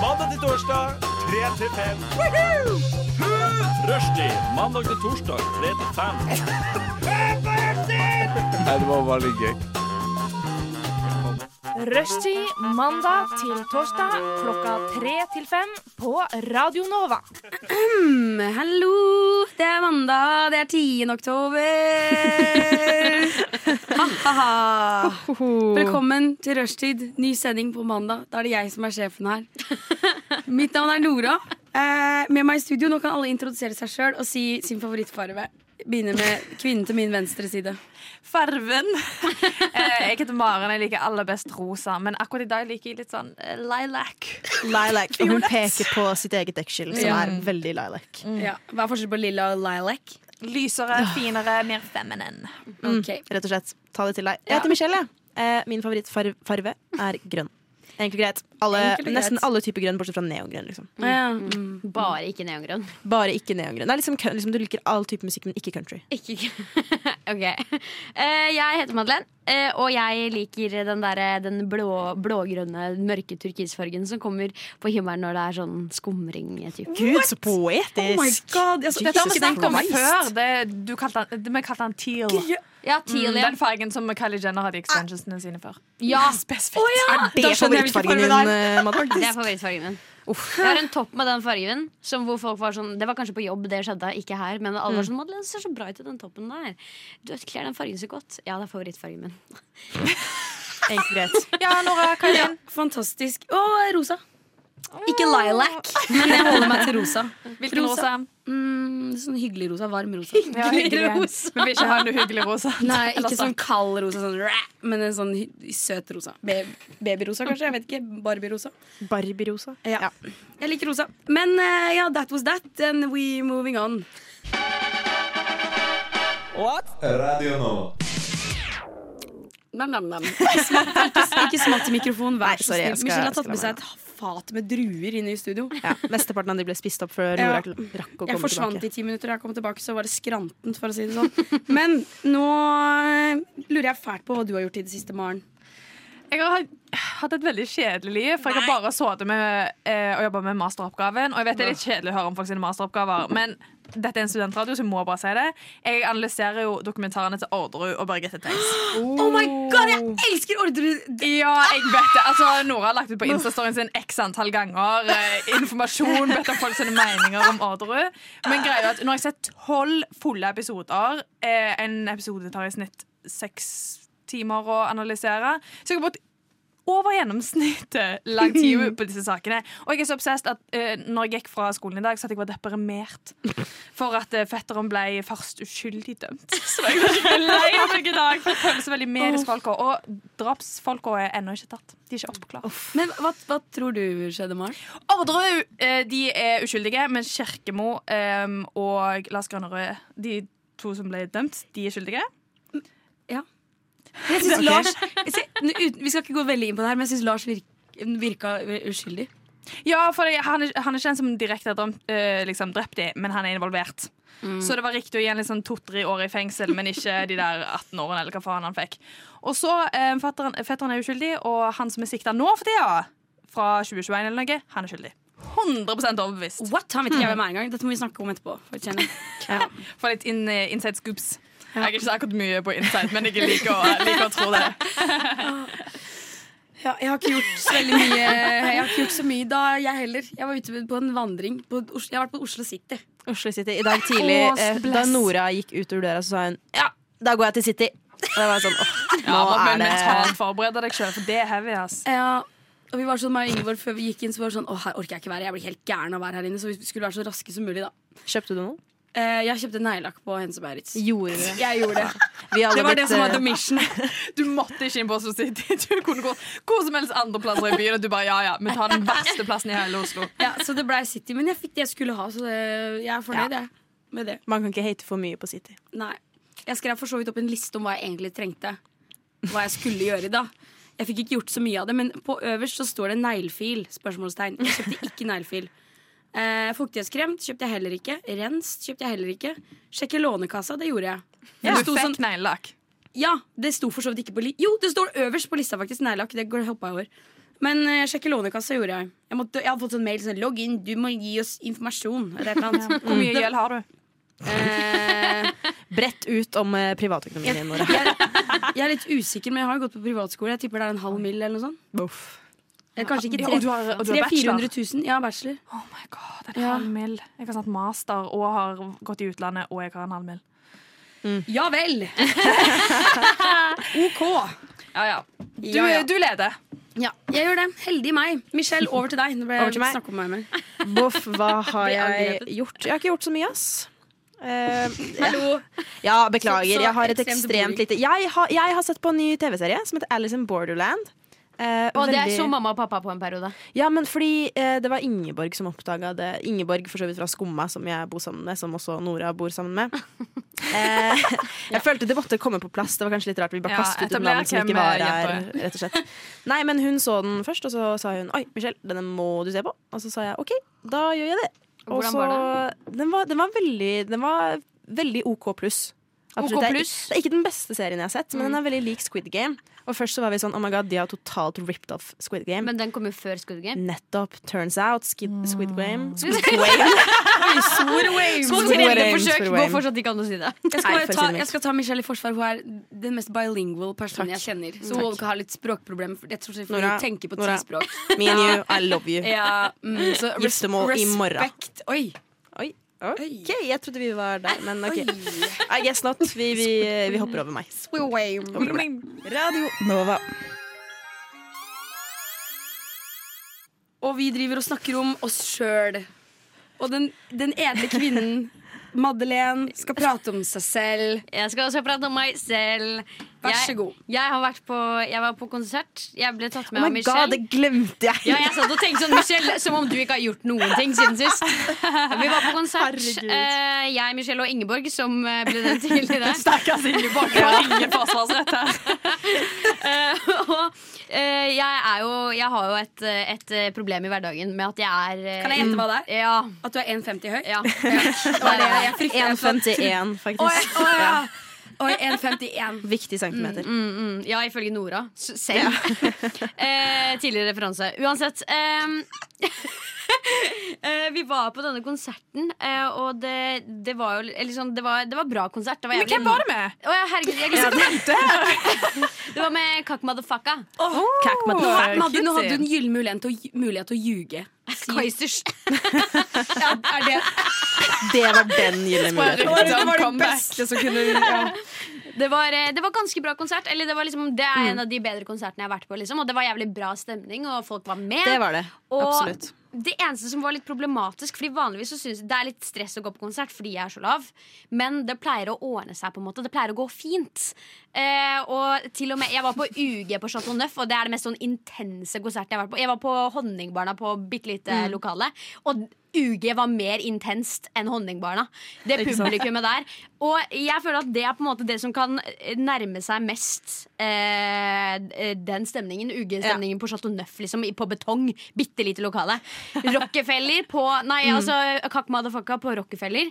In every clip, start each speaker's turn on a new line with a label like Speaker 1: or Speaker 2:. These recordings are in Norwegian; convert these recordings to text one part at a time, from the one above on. Speaker 1: Mandag til torsdag, 3 til 5. Rushtid. Mandag til torsdag, 3 til 5.
Speaker 2: Rushtid mandag til torsdag klokka tre til fem på Radio Nova.
Speaker 3: Hallo, det er mandag, det er 10. oktober. Ha-ha-ha. Velkommen til rushtid. Ny sending på mandag. Da er det jeg som er sjefen her. Mitt navn er Nora. Eh, med meg i studio nå kan alle introdusere seg sjøl og si sin favorittfarge. Begynner med kvinnen til min venstre side.
Speaker 4: Farven. Eh, jeg heter Maren, jeg liker aller best rosa. Men akkurat i dag liker jeg litt sånn eh, lilac.
Speaker 5: Lilac. Og hun peker på sitt eget dekkskill, som
Speaker 3: Ja. Mm.
Speaker 5: er veldig lilac.
Speaker 3: Ja. Hva er forskjellen på lilla og lilac?
Speaker 4: Lysere, finere, mer feminin.
Speaker 3: Ok.
Speaker 5: Rett og slett. Ta det til deg. Jeg
Speaker 4: Ja.
Speaker 5: heter Michelle. jeg. Eh, Min favorittfarve er grønn. Enkelt og greit. Alle,
Speaker 3: Enkelt og greit.
Speaker 5: nesten alle typer grønn, bortsett fra neongrønn. Liksom.
Speaker 3: Ja. Mm.
Speaker 6: Bare ikke neongrønn.
Speaker 5: Bare ikke neongrønn. Det er liksom, kø- liksom, du liker all type musikk, men ikke country.
Speaker 6: Ikke OK. Eh, jeg heter Madeleine, eh, og jeg liker den, der, eh, den blå, blågrønne, mørke turkisfargen som kommer på himmelen når det er sånn skumring. Typ.
Speaker 5: Gud, så poetisk!
Speaker 3: Oh my god. Jeg, så,
Speaker 4: Det
Speaker 3: dette
Speaker 4: har
Speaker 3: har
Speaker 4: vi
Speaker 3: vi
Speaker 4: snakket om
Speaker 3: snakket om før.
Speaker 4: før. Det, du kalte den, det- vi kalte den teal.
Speaker 6: Ja, teal, ja.
Speaker 4: Den fargen som Kylie Jenner hadde i extensionsene sine før.
Speaker 6: ja.
Speaker 4: Spesifikt.
Speaker 5: Er det
Speaker 3: Da skjønner jeg hvilken
Speaker 5: favorittfargen din,
Speaker 3: farge
Speaker 5: eh, Madde?
Speaker 6: Det er favorittfargen min. Jeg har en topp med den fargen. Som hvor folk var sånn, det var kanskje på jobb, det skjedde ikke her. Men alle var sånn Madeleine, du ser så bra ut i den toppen der. Du kler den fargen så godt. Ja, det er favorittfargen min.
Speaker 5: Enkelt og greit.
Speaker 4: Ja, Nora, hva er din?
Speaker 3: Fantastisk. Å, rosa. Ikke lilac, men jeg holder meg til rosa.
Speaker 4: Hvilken rosa?
Speaker 3: Mm, sånn hyggelig rosa, varm rosa.
Speaker 4: Ja, hyggelig. Vi vil ikke ha en uhyggelig rosa.
Speaker 3: Nei,
Speaker 4: Eller
Speaker 3: ikke sånn kald rosa, sånn, ræ, men en sånn hy- søt rosa. Be- Babyrosa, kanskje. Jeg vet ikke. Barbie-rosa.
Speaker 5: Barbie-rosa.
Speaker 3: Ja. Jeg liker rosa. Men eh, ja, that was that, and we moving on.
Speaker 7: Radio Nova.
Speaker 3: Nam, nam, nam. Ikke smatt- Ikke, ikke smatt i mikrofonen,
Speaker 5: Nei,
Speaker 3: vær så
Speaker 5: sorry, jeg
Speaker 3: snill.
Speaker 5: skal-
Speaker 3: Michelle har
Speaker 5: skal
Speaker 3: tatt
Speaker 5: la
Speaker 3: med
Speaker 5: meg
Speaker 3: seg et fat med druer inne i studio.
Speaker 5: Ja, Mesteparten av de ble spist opp før
Speaker 3: Ja.
Speaker 5: Nora rakk å komme
Speaker 3: Jeg forsvant
Speaker 5: tilbake.
Speaker 3: i ti minutter, og jeg kom tilbake, så var det skrantent, for å si det sånn. Men nå eh, lurer jeg fælt på hva du har gjort i det siste, Maren.
Speaker 4: Jeg har hatt et veldig kjedelig liv, for jeg har bare sittet med eh, og jobba med masteroppgaven. Og jeg vet det er litt kjedelig å høre om folk sine masteroppgaver, men dette er en studentradio, så jeg må bare si det. Jeg analyserer jo dokumentarene til Orderud og Birgitte Tengs.
Speaker 3: Oh my god, jeg elsker Ah! ordre...
Speaker 4: Ja, jeg vet det. Altså, Nora har lagt ut på Instastoryen sin x antall ganger. Eh, informasjon, bedt om folk sine meninger om Orderud. Men greia er at når jeg ser tolv fulle episoder, eh, en episode tar i snitt seks timer å analysere, så jeg har brukt over gjennomsnittet lang tid på disse sakene. Og jeg er så obsessed at eh, når jeg gikk fra skolen i dag, så at jeg var deprimert for at eh, fetteren ble først uskyldig dømt. Så jeg var skikkelig lei meg i dag. For jeg føler så veldig med disse folka. Og drapsfolka er ennå ikke tatt. De er ikke oppklart.
Speaker 3: Men hva, hva tror du skjedde, Maren?
Speaker 4: Orderud eh, de er uskyldige, men Kjerkemo eh, og Lars Grønnerød, de to som ble dømt, de er skyldige.
Speaker 3: Jeg synes Lars, jeg ser- nå ut- vi skal ikke gå veldig inn på det her, men jeg syns Lars virk, virka uskyldig.
Speaker 4: Ja, for det, han, er, han er ikke den som direkte har drømt, eh, liksom, drept dem, men han er involvert.
Speaker 5: Mm.
Speaker 4: Så det var riktig å gi han liksom to-tre år i fengsel, men ikke de der 18 årene. eller hva faen han fikk. Og så, eh, fetteren, fetteren er uskyldig, og han som er sikta nå for tida, fra 2021 eller noe, han er skyldig. 100 overbevist.
Speaker 3: What? Hmm. Han vet ikke jeg hvem er engang. Dette må vi snakke om etterpå. får jeg kjenne.
Speaker 4: Få litt in, eh, inside scoops. Jeg er ikke så akkurat mye på inside, men jeg liker å, liker å tro det.
Speaker 3: Ja, jeg har ikke gjort så veldig mye Jeg har ikke gjort så mye da, jeg heller. Jeg var ute på en vandring. På, Os- jeg har vært på Oslo City.
Speaker 5: Oslo City. I dag tidlig,
Speaker 3: Åh,
Speaker 5: eh, da
Speaker 3: bless.
Speaker 5: Nora gikk ut ur døra, så sa hun ja, da går jeg til City. Og det var sånn, åh, nå er
Speaker 4: men
Speaker 5: det
Speaker 4: mentalt forberede deg sjøl, for det er heavy. ass.
Speaker 3: Ja, og vi var sånn, meg og Ingeborg, Før vi gikk inn, så var det sånn Å, her orker jeg ikke være. Jeg blir helt gæren av å være her inne. Så vi skulle være så raske som mulig, da.
Speaker 5: Kjøpte du noe?
Speaker 3: Eh, Jeg kjøpte neglelakk på Hense Beirits.
Speaker 5: Gjorde du det?
Speaker 3: Jeg gjorde det.
Speaker 5: Vi alle
Speaker 3: Det var
Speaker 5: blitt,
Speaker 3: det som var
Speaker 5: eh,
Speaker 3: the mission.
Speaker 4: Du måtte ikke inn på Oslo City. Du kunne gå hvor som helst andre plasser i byen. Og du bare, ja, ja, vi tar den verste plassen i hele Oslo.
Speaker 3: Ja, så det blei City. Men jeg fikk det jeg skulle ha, så det, jeg er fornøyd jeg, med det.
Speaker 5: Man kan ikke hate for mye på City.
Speaker 3: Nei. Jeg skrev for så vidt opp en liste om hva jeg egentlig trengte. Hva jeg skulle gjøre da. Jeg fikk ikke gjort så mye av det, men på øverst så står det neglefil. Spørsmålstegn. Jeg kjøpte ikke neglefil. Eh, fuktighetskrem kjøpte jeg heller ikke. Rens kjøpte jeg heller ikke. Sjekke lånekassa, det gjorde jeg.
Speaker 4: Ja,
Speaker 3: det sto
Speaker 4: fake
Speaker 3: sånn,
Speaker 4: neglelakk.
Speaker 3: ja, det sto for så vidt ikke på li Jo, det står øverst på lista, faktisk. Neglelakk. Det går- hoppa jeg over. Men eh, sjekke lånekassa gjorde jeg. Jeg, måtte, jeg hadde fått sånn mail sånn logg inn, du må gi oss informasjon. Eller et eller annet.
Speaker 4: Hvor mye gjeld har du?
Speaker 3: Eh,
Speaker 5: Bredt ut om eh, privatøkonomien din, Nora.
Speaker 3: jeg, jeg er litt usikker, men jeg har jo gått på privatskole. Jeg tipper det er en halv mil eller noe sånt. Eller kanskje ikke
Speaker 4: Ja,
Speaker 3: tre-
Speaker 4: og du har- og du har
Speaker 3: 300 000. Ja, bachelor.
Speaker 4: Oh my god, en halv mil. Jeg har tatt master og har gått i utlandet, og jeg har en halv mil. Mm.
Speaker 3: Ja vel! OK.
Speaker 4: Ja, ja. Du,
Speaker 3: Ja, ja.
Speaker 4: du leder.
Speaker 3: Ja, jeg gjør det. Heldig meg. Michelle, over til deg. Det ble
Speaker 5: Over til meg.
Speaker 3: snakk om meg mer.
Speaker 5: Boff, hva har
Speaker 3: Blir
Speaker 5: jeg
Speaker 3: angrepet.
Speaker 5: gjort? Jeg har ikke gjort så mye, ass. Eh,
Speaker 3: Hallo.
Speaker 5: ja, beklager.
Speaker 3: Så- så
Speaker 5: Jeg har et
Speaker 3: ekstremt
Speaker 5: ekstremt
Speaker 3: boring.
Speaker 5: lite Jeg har, jeg har sett på en ny TV-serie som heter Alice in Borderland. Eh,
Speaker 6: Og det
Speaker 5: veldig-
Speaker 6: så mamma og pappa på en periode.
Speaker 5: Ja, men fordi eh, det var Ingeborg som oppdaga det. Ingeborg for så vidt fra Skumma, som jeg bor sammen med, som også Nora bor sammen med. Eh, jeg følte det måtte komme på plass. Det var kanskje litt rart. Vi bare
Speaker 4: Ja,
Speaker 5: kastet ut en
Speaker 4: etabler
Speaker 5: navn som
Speaker 4: hvem
Speaker 5: ikke var
Speaker 4: jenta
Speaker 5: her. Rett og slett. Nei, men hun så den først, og så sa hun Oi, Michelle, denne må du se på. Og så sa jeg OK, da gjør jeg det. Og
Speaker 6: Hvordan
Speaker 5: så
Speaker 6: var
Speaker 5: den var, den var veldig Den var veldig OK pluss. Absolutt. Det,
Speaker 6: OK+.
Speaker 5: er, ikke- det er ikke den beste serien jeg har sett, men den er veldig lik Squid Game. Og først så var vi sånn Oh my god, de har totalt ripped off Squid Game.
Speaker 6: Men den kom jo før Squid Game.
Speaker 5: Nettopp. Turns out. Skid, squid Game. Squid
Speaker 6: Skogs
Speaker 5: Mm. Squid
Speaker 6: rette
Speaker 5: Game,
Speaker 6: forsøk
Speaker 5: Squid
Speaker 6: går
Speaker 5: Game.
Speaker 6: fortsatt ikke an å si det.
Speaker 3: Jeg skal,
Speaker 5: Nei,
Speaker 3: bare
Speaker 5: for å si
Speaker 3: ta,
Speaker 5: det mildt.
Speaker 3: jeg skal ta Michelle i forsvar. Hun er den mest bilingual personen jeg kjenner. Så hun har litt språkproblemer. for Jeg tror selvfølgelig
Speaker 5: Nora,
Speaker 3: hun tenker på ti
Speaker 5: Nora.
Speaker 3: språk.
Speaker 5: Me and you, I love you.
Speaker 3: Ja, mm, så res
Speaker 5: Giftermål i morgen.
Speaker 3: respekt. Oi.
Speaker 5: Oi. OK, jeg trodde vi var der, men OK. I guess not. Vi, vi, vi hopper over meg. Hopper over meg. Radio Nova. Oh
Speaker 3: Og vi driver og snakker om oss sjøl. Og den, den edle kvinnen, Madeleine, skal prate om seg selv.
Speaker 6: Jeg skal også prate om meg selv.
Speaker 3: Vær
Speaker 6: Jeg-
Speaker 3: så god.
Speaker 6: Jeg, har vært på, jeg var på konsert. Jeg ble tatt med
Speaker 5: Oh
Speaker 6: av
Speaker 5: my
Speaker 6: Michelle.
Speaker 5: god, det glemte jeg!
Speaker 6: Ja, jeg satt og tenkte sånn, Michelle, Som om du ikke har gjort noen ting siden sist. Vi var på konsert. Eh, jeg, Michelle og Ingeborg, som eh, ble nevnt tidligere. der.
Speaker 4: Stakkars Ingeborg har ingen forsvarsrett her.
Speaker 6: Eh, og eh, jeg, er jo, jeg har jo et, eh, et eh, problem i hverdagen med at jeg er eh,
Speaker 3: Kan jeg gjette hva det er?
Speaker 6: Ja.
Speaker 3: Mm. At du er 1,50 høy?
Speaker 6: ja.
Speaker 3: Det var det jeg fryktet.
Speaker 5: 1,51, faktisk.
Speaker 3: Oi, oi, ja. Oi, 1,51.
Speaker 5: Viktig centimeter.
Speaker 6: Mm, ja, ifølge Nora s- selv. eh, tidligere referanse. Uansett. ehm, eh, vi var på denne konserten, eh, og det, det var jo eller sånn, det, var, det var bra konsert. Det var
Speaker 4: Men hvem var det med?
Speaker 6: Å ja, herregud, jeg glemte Det var med Kak Madafaka.
Speaker 5: Cack,
Speaker 4: Nå
Speaker 5: motherfucker.
Speaker 4: hadde-
Speaker 3: Madde, nå hadde
Speaker 4: nå hadde
Speaker 3: du
Speaker 4: hun-
Speaker 3: en gyllen mulighet til å, ju- mulighet til å ljuge.
Speaker 6: Kaizers.
Speaker 3: Ja, er det,
Speaker 5: Det var den gylne muligheten.
Speaker 4: Rykte
Speaker 3: det
Speaker 4: om
Speaker 3: var det
Speaker 4: comeback.
Speaker 3: beste som kunne ja.
Speaker 6: Det var, eh, det var ganske bra konsert. Eller det, var liksom, det er en av de bedre konsertene jeg har vært på. Liksom, og det var jævlig bra stemning, og folk var med.
Speaker 5: Det var det.
Speaker 6: Og
Speaker 5: Absolutt.
Speaker 6: det eneste som var litt problematisk Fordi vanligvis så synes det er litt stress å gå på konsert fordi jeg er så lav, men det pleier å ordne seg. på en måte Det pleier å gå fint. Eh, og til og med Jeg var på UG på Chateau Neuf, og det er det mest sånn intense konserten jeg har vært på. Jeg var på Honningbarna på bitte lite lokale. Og UG var mer intenst enn Honningbarna. Det publikummet der. Og jeg føler at det er på en måte det som kan nærme seg mest eh, den stemningen. UG-stemningen på Chateau Neuf, liksom. i- På betong. Bitte lite lokale. Rockefeller på Nei,
Speaker 5: Mm.
Speaker 6: altså Kakk Madafaka på Rockefeller.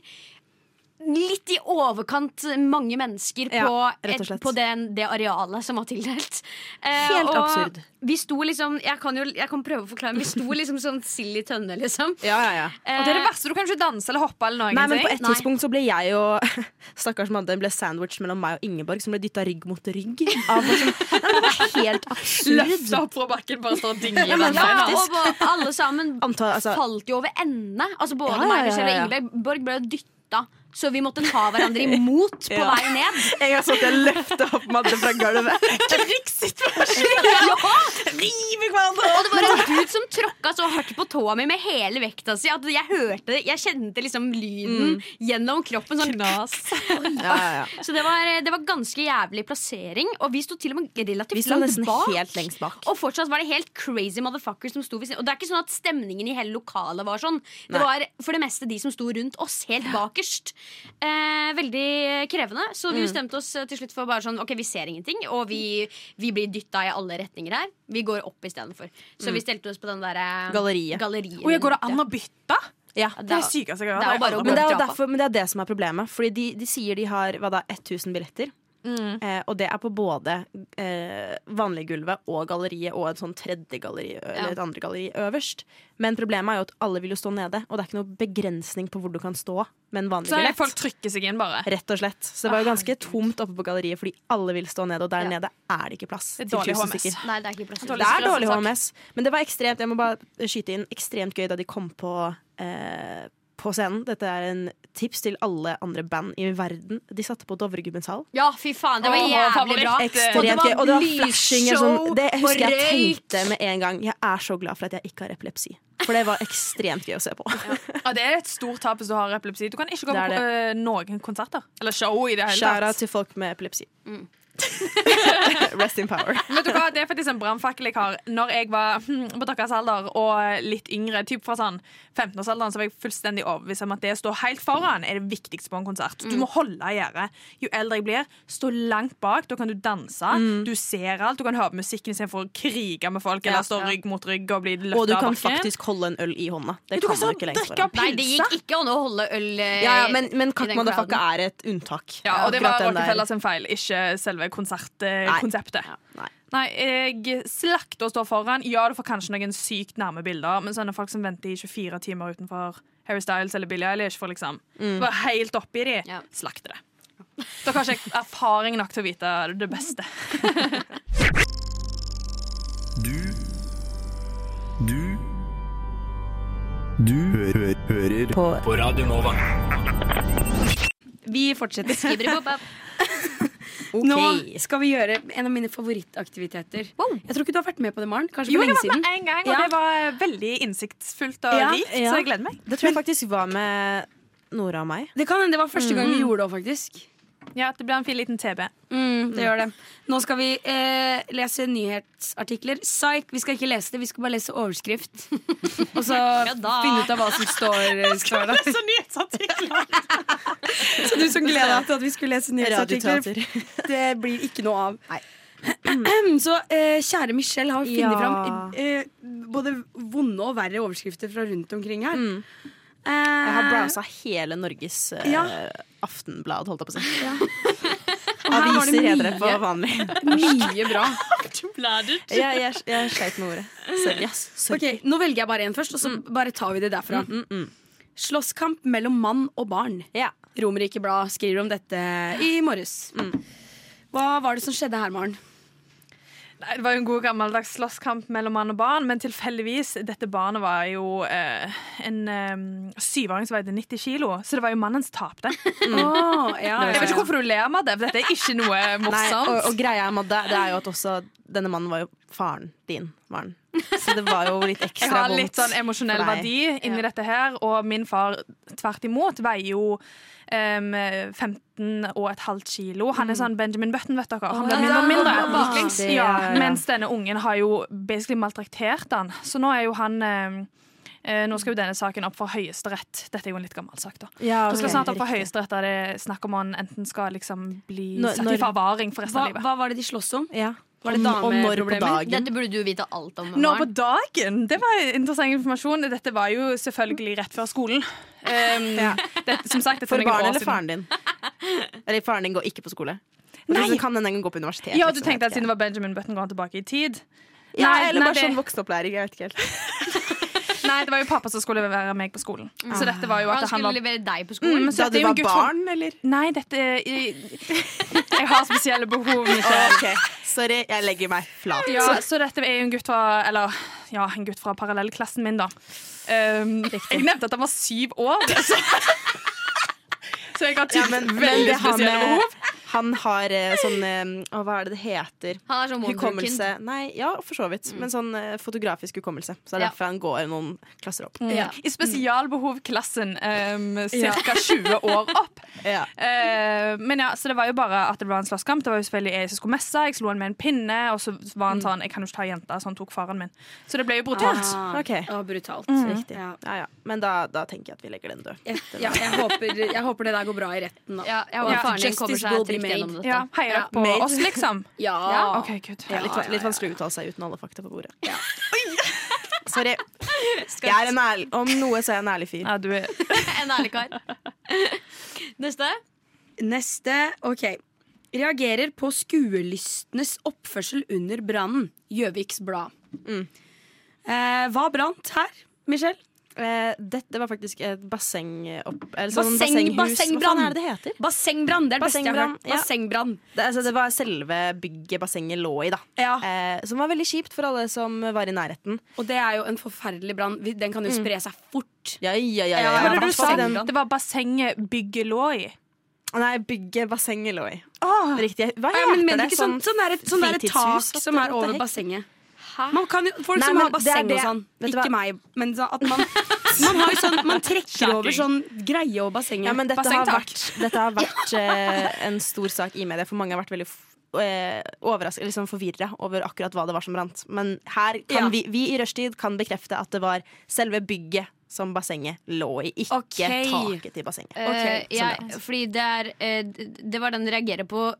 Speaker 6: Litt i overkant mange mennesker på,
Speaker 5: Ja, rett og
Speaker 6: et,
Speaker 5: slett.
Speaker 6: på den, det arealet som var tildelt. Eh,
Speaker 5: Helt
Speaker 6: og
Speaker 5: absurd.
Speaker 6: Vi sto liksom Jeg kan jo jeg kan prøve å forklare, men vi sto liksom sånn sild i tønne, liksom.
Speaker 5: Ja, ja, ja.
Speaker 6: Eh,
Speaker 4: Og det er det verste. Du kan ikke danse eller hoppe eller
Speaker 5: Nei,
Speaker 4: noen
Speaker 5: men på
Speaker 4: ting.
Speaker 5: et
Speaker 6: Nei.
Speaker 5: tidspunkt så ble jeg og stakkars Madde ble sandwich mellom meg og Ingeborg, som ble dytta rygg mot rygg. Av oss. Nei, men det var helt absurd.
Speaker 4: Løfte opp fra bakken, bare stå og dingle. i
Speaker 5: Ja, men
Speaker 4: vannet.
Speaker 6: ja,
Speaker 5: faktisk.
Speaker 6: og ba- alle sammen
Speaker 5: Antall- altså-
Speaker 6: falt jo over ende. Altså Både
Speaker 5: Ja, ja,
Speaker 6: meg,
Speaker 5: ja,
Speaker 6: Michelle
Speaker 5: ja, ja.
Speaker 6: og Ingeborg ble dytta, så vi måtte ta hverandre imot på
Speaker 5: Ja.
Speaker 6: vei ned.
Speaker 5: En gang satt jeg og løfta opp Madde fra gulvet.
Speaker 6: Og det var en
Speaker 5: altså-
Speaker 6: gud som tråkka så hardt på tåa mi med hele vekta si at jeg hørte det. Jeg kjente liksom lyden
Speaker 5: Mm.
Speaker 6: gjennom kroppen. Sånn
Speaker 5: Ja, ja, ja.
Speaker 6: Så det var, det var ganske jævlig plassering, og vi sto til og med
Speaker 5: Vi
Speaker 6: relativt
Speaker 5: sto
Speaker 6: langt
Speaker 5: nesten
Speaker 6: bak.
Speaker 5: helt lengst bak.
Speaker 6: Og fortsatt var det helt crazy motherfuckers som sto ved siden Og det er ikke sånn at stemningen i hele lokalet var sånn.
Speaker 5: Nei.
Speaker 6: Det var for det meste de som sto rundt oss, helt bakerst. Eh, veldig krevende. Så
Speaker 5: Mm.
Speaker 6: vi bestemte oss eh, til slutt for bare sånn Ok, vi ser ingenting, og vi, vi blir dytta i alle retninger her. Vi går opp istedenfor. Så vi stelte oss på den derre
Speaker 5: Mm. Galleriet.
Speaker 6: galleriet
Speaker 4: Og jeg går det
Speaker 6: rundt,
Speaker 4: an å bytte?
Speaker 5: Ja.
Speaker 4: Det er
Speaker 6: Det
Speaker 4: det
Speaker 6: er-
Speaker 4: sykeste jeg har
Speaker 6: det er
Speaker 4: hørt. Jeg
Speaker 6: jo bare å gå-
Speaker 4: har
Speaker 5: Men det er jo
Speaker 6: drapa.
Speaker 5: derfor, men det, er det som er problemet. Fordi de, de sier de har hva da, 1000 billetter.
Speaker 4: Mm.
Speaker 5: Eh, og det er på både eh, vanliggulvet og galleriet og et sånn tredje galleri eller et andre galleri øverst. Men problemet er jo at alle vil jo stå nede, og det er ikke noe begrensning på hvor du kan stå med en vanlig
Speaker 4: aldri- Så er
Speaker 5: billett.
Speaker 4: folk Ah, trykker seg inn, bare.
Speaker 5: Rett og slett. Så det var jo ganske tomt oppe på galleriet fordi alle vil stå nede, og der
Speaker 6: Ja.
Speaker 5: nede er det ikke plass
Speaker 4: Det er
Speaker 5: til
Speaker 4: dårlig
Speaker 5: 1000
Speaker 4: HMS.
Speaker 5: stykker.
Speaker 6: Nei, det er ikke plass.
Speaker 5: Det er dårlig HMS, men det var ekstremt Jeg må bare skyte inn ekstremt gøy da de kom på, eh, på scenen. Dette er en tips til alle andre band i verden. De satte på Dovregubbens hall.
Speaker 6: Ja, fy faen, det var
Speaker 4: Åh,
Speaker 6: jævlig
Speaker 4: favoritt.
Speaker 6: bra.
Speaker 5: Ekstremt
Speaker 6: det var
Speaker 5: gøy. Og det var
Speaker 6: lysshow
Speaker 5: flashinger sånn. Det jeg husker jeg
Speaker 6: og
Speaker 5: tenkte med en gang. Jeg er så glad for at jeg ikke har epilepsi. For det var ekstremt gøy å se på.
Speaker 4: Ja, det er et stort tap hvis du har epilepsi. Du kan ikke gå
Speaker 5: Det
Speaker 4: på eh,
Speaker 5: er
Speaker 4: noen konserter. Eller show i det hele
Speaker 5: Skjæra
Speaker 4: tatt.
Speaker 5: til folk med epilepsi. Rest in power.
Speaker 4: Vet du hva, Det er faktisk en brannfakkel jeg har. Når jeg var hm, på deres alder og litt yngre, typ fra sånn 15-årsalderen, så var jeg fullstendig overbevist om at det å stå helt foran er det viktigste på en konsert.
Speaker 5: Mm.
Speaker 4: Du må holde i gjerdet. Jo eldre jeg blir, stå langt bak. Da kan du danse.
Speaker 5: Mm.
Speaker 4: Du ser alt. Du kan høre på musikken istedenfor å krige med folk eller stå rygg mot rygg og bli
Speaker 5: Og du
Speaker 4: løfta av
Speaker 5: kan
Speaker 4: bakken.
Speaker 5: faktisk holde en øl i hånda. Det
Speaker 4: Du kan
Speaker 5: kan man
Speaker 4: sånn
Speaker 5: ikke lenger.
Speaker 4: drikke
Speaker 5: foran.
Speaker 4: av
Speaker 6: Nei, det
Speaker 4: pilse.
Speaker 6: gikk ikke an å holde øl eh,
Speaker 5: Ja, ja, men, men
Speaker 6: i
Speaker 5: Kakk
Speaker 6: den
Speaker 5: Motherfucka
Speaker 6: crowden.
Speaker 5: er et unntak.
Speaker 4: Ja, og det var
Speaker 5: Akkurat den der-
Speaker 4: Rockefeller sin feil, ikke selve eh,
Speaker 5: Nei.
Speaker 4: konsertkonseptet.
Speaker 5: Nei.
Speaker 4: Nei, jeg slakter å stå foran. Ja, du får kanskje noen sykt nærme bilder, men sånne folk som venter i 24 timer utenfor Harry Styles eller Billie Eilish for liksom Var helt oppi de.
Speaker 6: Ja.
Speaker 4: Slakter det. Da har ikke jeg erfaring nok til å vite det beste.
Speaker 8: Du Du Du hø hø hører på. på Radio Nova.
Speaker 3: Vi fortsetter.
Speaker 6: Skibberibobab.
Speaker 3: Nå skal vi gjøre en av mine favorittaktiviteter.
Speaker 6: Wow.
Speaker 3: Jeg tror ikke du har vært med på det, Maren. Kanskje
Speaker 4: Jo,
Speaker 3: for
Speaker 4: jeg
Speaker 3: lenge
Speaker 4: har vært
Speaker 3: siden.
Speaker 4: med én gang, og
Speaker 3: Ja.
Speaker 4: det var veldig innsiktsfullt og
Speaker 3: Ja,
Speaker 4: rikt,
Speaker 5: ja.
Speaker 4: så jeg gleder meg.
Speaker 5: Det tror jeg faktisk var med Nora og meg.
Speaker 3: Det kan hende det var første gang vi gjorde det òg, faktisk.
Speaker 4: Ja, Det blir en fin liten TB.
Speaker 3: Mm, det gjør det. Nå skal vi eh, lese nyhetsartikler. Psyk, vi skal ikke lese det, vi skal bare lese overskrift. Og så
Speaker 6: da.
Speaker 3: finne ut av hva som står, står der.
Speaker 4: Så nyhetsartikler!
Speaker 3: Så du som gleder deg til at vi skulle lese nyhetsartikler,
Speaker 5: Radioteater.
Speaker 3: det blir ikke noe av. Så eh, kjære Michelle har funnet
Speaker 5: Ja.
Speaker 3: fram eh, både vonde og verre overskrifter fra rundt omkring her.
Speaker 5: Mm.
Speaker 3: Eh,
Speaker 5: Jeg har browsa hele Norges eh,
Speaker 3: Ja.
Speaker 5: Aftenblad, holdt jeg på å si.
Speaker 3: her var det
Speaker 5: Aviser heter det
Speaker 3: mye.
Speaker 5: på vanlig.
Speaker 3: Mye bra.
Speaker 5: Jeg, jeg, jeg sleit med ordet. Sorry. ass. Sorry.
Speaker 3: Ok, Nå velger jeg bare en først, og så
Speaker 5: Mm.
Speaker 3: bare tar vi det derfra. Slåsskamp mellom mann og barn.
Speaker 5: Ja.
Speaker 3: Romerike Blad skriver om dette i morges.
Speaker 5: Mm.
Speaker 3: Hva var det som skjedde her, Maren?
Speaker 4: Nei, Det var jo en god gammeldags slåsskamp mellom mann og barn, men tilfeldigvis Dette barnet var jo eh, en eh, syvåring som veide 90 kilo, så det var jo mannen som tapte.
Speaker 5: Mm.
Speaker 3: Åh, ja,
Speaker 4: Jeg vet ikke hvorfor du ler med det, for dette er ikke noe
Speaker 5: Nei,
Speaker 4: morsomt.
Speaker 5: og, og greia med det, det er jo at også denne mannen var jo faren din. Var han. Så det var jo litt
Speaker 4: jeg
Speaker 5: ekstra
Speaker 4: har
Speaker 5: vondt.
Speaker 4: litt sånn emosjonell
Speaker 5: for deg.
Speaker 4: verdi inni dette her, og min far tvert imot veier jo em, 15 og et halvt kilo. Han
Speaker 5: Mm.
Speaker 4: er sånn Benjamin Button, vet dere. Han blir mindre og mindre.
Speaker 5: baklengs.
Speaker 4: Ja, Mens denne ungen har jo basically maltraktert han. Så nå er jo han em, eh, nå skal jo denne saken opp for Høyesterett. Dette er jo en litt gammel sak, da.
Speaker 5: Ja,
Speaker 4: Nå skal
Speaker 5: ok,
Speaker 4: snart opp for
Speaker 5: riktig.
Speaker 4: Høyesterett, der det er snakk om han enten skal liksom bli
Speaker 5: Når-
Speaker 4: satt
Speaker 5: når-
Speaker 4: i forvaring for resten
Speaker 3: Hva,
Speaker 4: av livet.
Speaker 3: hva var det de sloss om?
Speaker 5: Ja.
Speaker 3: Var det
Speaker 5: Og når på
Speaker 3: dameproblemer?
Speaker 5: dagen?
Speaker 6: Dette burde du vite alt om.
Speaker 4: Nå på
Speaker 6: Maren.
Speaker 4: dagen! Det var interessant informasjon. Dette var jo selvfølgelig rett før skolen. Um, det, som sagt, dette er
Speaker 5: For
Speaker 4: noen år
Speaker 5: barn eller
Speaker 4: siden.
Speaker 5: faren din? Eller faren din går ikke på skole?
Speaker 4: Nei.
Speaker 5: Nei. Kan den en gang gå på universitet?
Speaker 4: Ja, du
Speaker 5: liksom,
Speaker 4: tenkte
Speaker 5: jeg
Speaker 4: at
Speaker 5: vet ikke.
Speaker 4: siden det var Benjamin Button, går han tilbake i tid?
Speaker 5: ja,
Speaker 4: Nei,
Speaker 5: Eller
Speaker 4: nei,
Speaker 5: bare
Speaker 4: det-
Speaker 5: sånn voksenopplæring. Jeg vet ikke helt.
Speaker 4: Nei, det var jo pappa som skulle levere meg på skolen.
Speaker 5: Ah.
Speaker 4: Så dette var jo at han
Speaker 6: Han skulle
Speaker 4: var
Speaker 6: levere deg
Speaker 3: Mm,
Speaker 6: på skolen.
Speaker 4: Men så
Speaker 5: Da
Speaker 4: dette
Speaker 5: du
Speaker 4: er jo en
Speaker 5: var
Speaker 4: gutt-
Speaker 5: barn, eller?
Speaker 4: Nei, dette Jeg, jeg har spesielle behov, Michelle.
Speaker 5: Ok, Sorry, jeg legger meg flat.
Speaker 4: Ja, så dette er jo en gutt fra Eller ja, en gutt fra parallellklassen min, da. Um, jeg nevnte at han var syv år. Så, så jeg har tydeligvis
Speaker 5: Men
Speaker 4: veldig
Speaker 5: det har
Speaker 4: spesielle behov.
Speaker 5: med, han har eh, sånn eh, å, Hva er det det heter?
Speaker 6: Han er sånn wonderkind.
Speaker 5: Hukommelse. Nei, ja, for så
Speaker 4: Mm.
Speaker 5: vidt. Men sånn eh, fotografisk hukommelse. Så det er
Speaker 6: Ja.
Speaker 5: derfor han går noen klasser
Speaker 4: Mm.
Speaker 5: opp.
Speaker 3: Ja.
Speaker 4: I spesialbehovklassen um, ca. 20 år opp.
Speaker 5: Ja.
Speaker 4: Eh, men ja, så det var jo bare at det var en slåsskamp. Det var jo selvfølgelig jeg som skulle messe. Jeg slo han med en pinne, og så
Speaker 3: Mm.
Speaker 4: var han sånn Jeg kan jo ikke ta jenta, så han tok faren min. Så det ble jo brutalt.
Speaker 3: Ah,
Speaker 5: Ok. Mm.
Speaker 3: ah, brutalt.
Speaker 5: Riktig.
Speaker 3: Ja.
Speaker 5: Ja, ja. Men da, da tenker jeg at vi legger den død.
Speaker 3: Jeg, ja, jeg, håper, jeg håper det der går bra i retten. Da.
Speaker 6: Ja, jeg håper
Speaker 4: Ja.
Speaker 6: faren din
Speaker 3: Justice
Speaker 6: kommer
Speaker 3: will
Speaker 6: seg
Speaker 3: be
Speaker 6: trygt
Speaker 3: made.
Speaker 6: gjennom dette.
Speaker 4: Ja, Heier dere på
Speaker 5: Made.
Speaker 4: oss, liksom?
Speaker 3: Ja.
Speaker 4: OK, gud.
Speaker 5: Litt, litt vanskelig å uttale seg uten alle fakta på bordet. Sorry. Jeg er en ærlig, om noe så er jeg en ærlig fyr.
Speaker 4: Ja, du er
Speaker 6: En ærlig kar. Neste.
Speaker 3: Neste. Ok. Reagerer på skuelystnes oppførsel under brannen. Gjøviks Blad.
Speaker 5: Mm.
Speaker 3: Eh, hva brant her, Michelle?
Speaker 5: Eh, dette var faktisk et basseng... Opp, eller sånn
Speaker 3: Basseng-
Speaker 5: bassenghus. Hva faen er det det heter?
Speaker 3: Bassengbrann. Det er det beste jeg har
Speaker 5: Bassengbrann,
Speaker 3: hørt.
Speaker 5: ja.
Speaker 3: Bassengbrann.
Speaker 5: Det, altså, det var selve bygget bassenget lå i, da.
Speaker 3: Ja.
Speaker 5: Eh, som var veldig kjipt for alle som var i nærheten.
Speaker 3: Og det er jo en forferdelig brann. Vi- Den kan jo spre seg fort.
Speaker 5: Ja, ja, ja, ja,
Speaker 4: Hva var
Speaker 5: ja.
Speaker 4: det du sa?
Speaker 5: Den-
Speaker 4: Det var bassenget bygget lå i.
Speaker 5: Nei, bygget bassenget lå i. Riktig. Hva
Speaker 3: Ja, men
Speaker 5: heter
Speaker 3: mener du
Speaker 5: det?
Speaker 3: ikke sånn, sånn, der, sånn der tak
Speaker 5: fritidshus,
Speaker 3: som
Speaker 5: what
Speaker 3: er
Speaker 5: the
Speaker 3: over
Speaker 5: heck?
Speaker 3: bassenget?
Speaker 6: Hæ?
Speaker 3: Man kan jo, folk
Speaker 5: Nei,
Speaker 3: som har
Speaker 5: men det er
Speaker 3: basseng og
Speaker 5: det-
Speaker 3: sånn.
Speaker 5: Vet du
Speaker 3: Ikke
Speaker 5: hva?
Speaker 3: meg, men sånn at man, man, har jo sånn, man trekker over sånn greie over bassenget.
Speaker 5: Ja, men dette har
Speaker 4: Bassengtak.
Speaker 5: vært, dette har vært eh, en stor sak i media, for mange har vært veldig f- eh, overrasket, liksom forvirra over akkurat hva det var som brant. Men her kan
Speaker 3: Ja.
Speaker 5: vi, vi i rushtid kan bekrefte at det var selve bygget som bassenget lå i, ikke
Speaker 3: Ok.
Speaker 5: taket til bassenget.
Speaker 6: Eh,
Speaker 5: som
Speaker 6: jeg-
Speaker 5: brant.
Speaker 6: fordi det er eh, d- Det var den reagerer på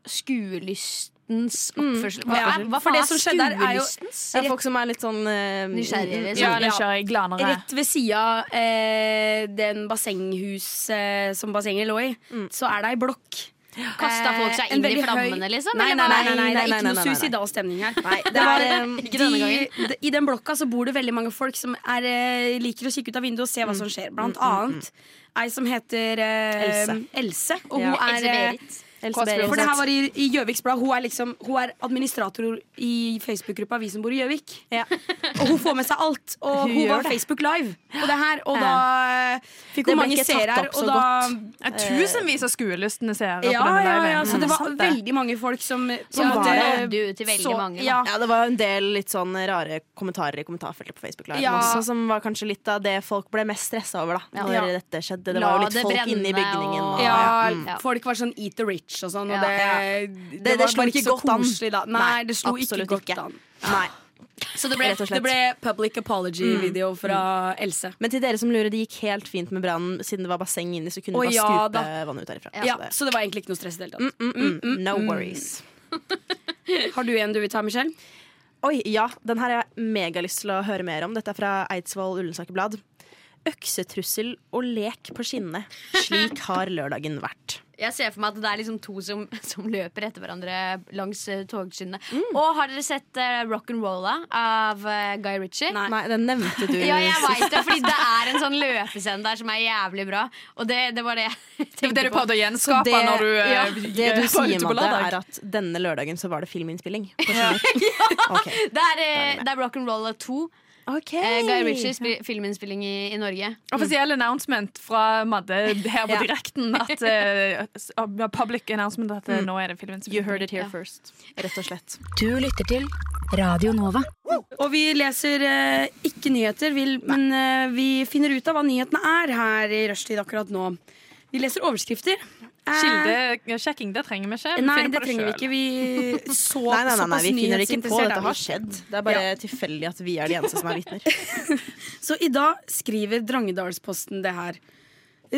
Speaker 6: skuelystens oppførsel. Hva,
Speaker 3: Mm, Ja,
Speaker 6: er- hva
Speaker 3: for
Speaker 6: faen
Speaker 3: det
Speaker 6: er
Speaker 3: som skjedde der er jo-
Speaker 6: skuelystens?
Speaker 5: Ja, folk som er litt sånn eh,
Speaker 6: Nysgjerrige, liksom.
Speaker 4: Ja, nysgjerrig, glanere.
Speaker 3: Rett ved sida av eh, den bassenghus eh, som bassenget lå i, så er det ei blokk.
Speaker 6: Kasta Mm. folk seg
Speaker 3: Eh, en
Speaker 6: inn i
Speaker 3: veldig høy-
Speaker 6: flammene, liksom?
Speaker 3: Nei,
Speaker 6: eller
Speaker 3: nei, nei, nei, nei,
Speaker 6: hva?
Speaker 3: det er
Speaker 5: Nei, nei,
Speaker 3: ikke
Speaker 5: nei,
Speaker 3: noe
Speaker 5: nei, nei.
Speaker 3: suicidal stemning her.
Speaker 5: Nei, det
Speaker 3: Det var,
Speaker 5: er,
Speaker 3: eh,
Speaker 6: ikke denne
Speaker 3: de,
Speaker 6: gangen.
Speaker 3: de, I den blokka så bor det veldig mange folk som er, eh, liker å kikke ut av vinduet og se
Speaker 6: Mm.
Speaker 3: hva som skjer. Blant annet ei som heter eh,
Speaker 5: Else.
Speaker 3: Else. Og
Speaker 5: Ja.
Speaker 3: hun er eh,
Speaker 6: Else-Berit.
Speaker 5: Else Berit.
Speaker 3: For det her var i, i Gjøviks Blad. Hun er, liksom, hun er administrator i Facebook-gruppa Vi som bor i Gjøvik.
Speaker 5: Ja.
Speaker 3: Og hun får med seg alt. Og hun,
Speaker 5: gjør
Speaker 3: var
Speaker 5: det.
Speaker 3: Facebook Live på det her, og da eh, fikk
Speaker 5: Det
Speaker 3: hun
Speaker 5: ble
Speaker 3: mange
Speaker 5: ikke tatt
Speaker 3: seere her.
Speaker 5: opp så
Speaker 3: Og da
Speaker 4: Ja, Tusenvis av skuelystne seere
Speaker 3: ja,
Speaker 4: på denne
Speaker 3: ja, ja,
Speaker 4: liven.
Speaker 3: så det
Speaker 4: Mm,
Speaker 3: var
Speaker 4: sant
Speaker 3: veldig mange folk som, som eh,
Speaker 6: Ja,
Speaker 3: måtte-
Speaker 5: var det.
Speaker 6: nådde ut til veldig mange, da.
Speaker 3: Ja,
Speaker 5: Ja, det var jo en del litt sånn rare kommentarer i kommentarfeltet på Facebook Live
Speaker 3: Ja.
Speaker 5: også, som var kanskje litt av det folk ble mest stressa over, da. Når
Speaker 3: Ja.
Speaker 5: dette skjedde. Det
Speaker 6: La
Speaker 5: var jo litt
Speaker 6: det
Speaker 5: folk
Speaker 6: brenne
Speaker 5: inne i bygningen.
Speaker 6: og-
Speaker 5: Og,
Speaker 3: ja,
Speaker 6: Mm. Ja.
Speaker 3: folk var sånn eat the rich og sånn, og
Speaker 6: Ja.
Speaker 3: det,
Speaker 5: Ja.
Speaker 3: det,
Speaker 5: det
Speaker 3: var
Speaker 5: slo
Speaker 3: bare
Speaker 5: ikke
Speaker 3: ikke så
Speaker 5: godt an.
Speaker 3: koselig da. Nei,
Speaker 5: Nei,
Speaker 3: det slo ikke
Speaker 5: absolutt
Speaker 3: godt
Speaker 5: ikke.
Speaker 3: an.
Speaker 5: Nei.
Speaker 6: Så det ble
Speaker 5: Rett og
Speaker 3: Det
Speaker 5: slett.
Speaker 3: ble public apology-video fra Else.
Speaker 5: Men til dere som lurer, det gikk helt fint med brannen. Siden det var basseng inni, så kunne du
Speaker 3: Å,
Speaker 5: bare
Speaker 3: ja
Speaker 5: skupe
Speaker 3: da.
Speaker 5: vannet ut derifra.
Speaker 3: Ja,
Speaker 5: Så det-
Speaker 3: så det var egentlig ikke noe stress i det hele tatt.
Speaker 5: Mm, mm, no worries.
Speaker 3: Har du en du vil ta, Michelle?
Speaker 5: Oi, ja, den her har jeg megalyst til å høre mer om. Dette er fra Eidsvoll Ullensaker Blad. Øksetrussel og lek på skinnet. Slik har lørdagen vært.
Speaker 6: Jeg ser for meg at det er liksom to som, som løper etter hverandre langs eh, togskinnene. Og har dere sett uh, Rock'n'Rolla av eh, Guy Ritchie?
Speaker 3: Nei.
Speaker 5: Nei, den nevnte du.
Speaker 6: Ja, jeg veit det, fordi det er en sånn løpescene der som er jævlig bra. Og det, det var det jeg
Speaker 4: Det var det
Speaker 6: tenkte
Speaker 4: du
Speaker 6: på.
Speaker 4: prøvde å gjenskape
Speaker 5: det,
Speaker 4: når du eh,
Speaker 5: ja, det du
Speaker 4: var
Speaker 5: sier,
Speaker 4: ute på
Speaker 5: Madde,
Speaker 4: lørdag.
Speaker 5: er at denne lørdagen så var det filminnspilling. Eh, Ok.
Speaker 6: Det er, eh, det er Rock'n'Rolla 2. eh, Guy Ritchie, spil- filminnspilling i, i Norge.
Speaker 3: Mm.
Speaker 4: Offisiell announcement fra Madde her på direkten. At, eh, s- uh, public announcement at
Speaker 3: Mm.
Speaker 4: eh, nå er det filmen som
Speaker 5: You heard it here
Speaker 6: Ja.
Speaker 5: first. Rett og slett.
Speaker 9: Du lytter til Radio Nova.
Speaker 3: Og vi leser eh, ikke nyheter, vi, men eh, vi finner ut av hva nyhetene er her i rushtid akkurat nå. Vi leser overskrifter. Eh,
Speaker 4: Kildesjekking, det trenger vi ikke. Vi
Speaker 3: Nei,
Speaker 4: finner på
Speaker 3: det trenger vi
Speaker 4: selv.
Speaker 3: ikke. Vi så
Speaker 5: Nei, nei, nei, nei, vi finner det ikke på.
Speaker 3: nyhetsinteressert er
Speaker 5: Dette
Speaker 3: vi
Speaker 5: har skjedd. Det er bare tilfeldig at vi er de eneste som er vitner.
Speaker 3: Så i dag skriver Drangedalsposten det her.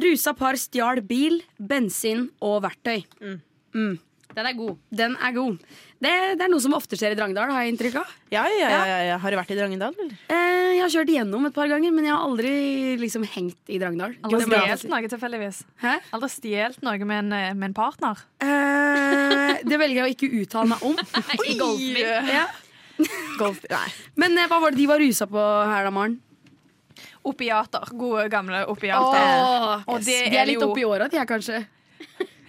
Speaker 3: Rusa par stjal bil, bensin og verktøy.
Speaker 5: Mm.
Speaker 3: Mm.
Speaker 6: Den er god.
Speaker 3: Den er god. Det, det er noe som ofte skjer i Drangedal, har jeg inntrykk av.
Speaker 5: Ja, ja, ja, ja, ja. Har du vært i Drangedal, eller?
Speaker 3: Eh, jeg har kjørt igjennom et par ganger, men jeg har aldri liksom hengt i Drangedal.
Speaker 4: Aldri
Speaker 3: Det må jeg
Speaker 4: stjålet noe tilfeldigvis.
Speaker 3: Hæ?
Speaker 4: Aldri stjålet noe med en, eh, med en partner.
Speaker 3: Eh, det velger jeg å ikke uttale meg om.
Speaker 6: I golfbil.
Speaker 3: Ja.
Speaker 5: Golf? Nei.
Speaker 3: Men eh, hva var det de var rusa på her da, Maren?
Speaker 4: Opiater. Gode, gamle opiater.
Speaker 6: Åh.
Speaker 4: Og det
Speaker 3: De er litt
Speaker 4: jo-
Speaker 3: oppi åra, de her, kanskje?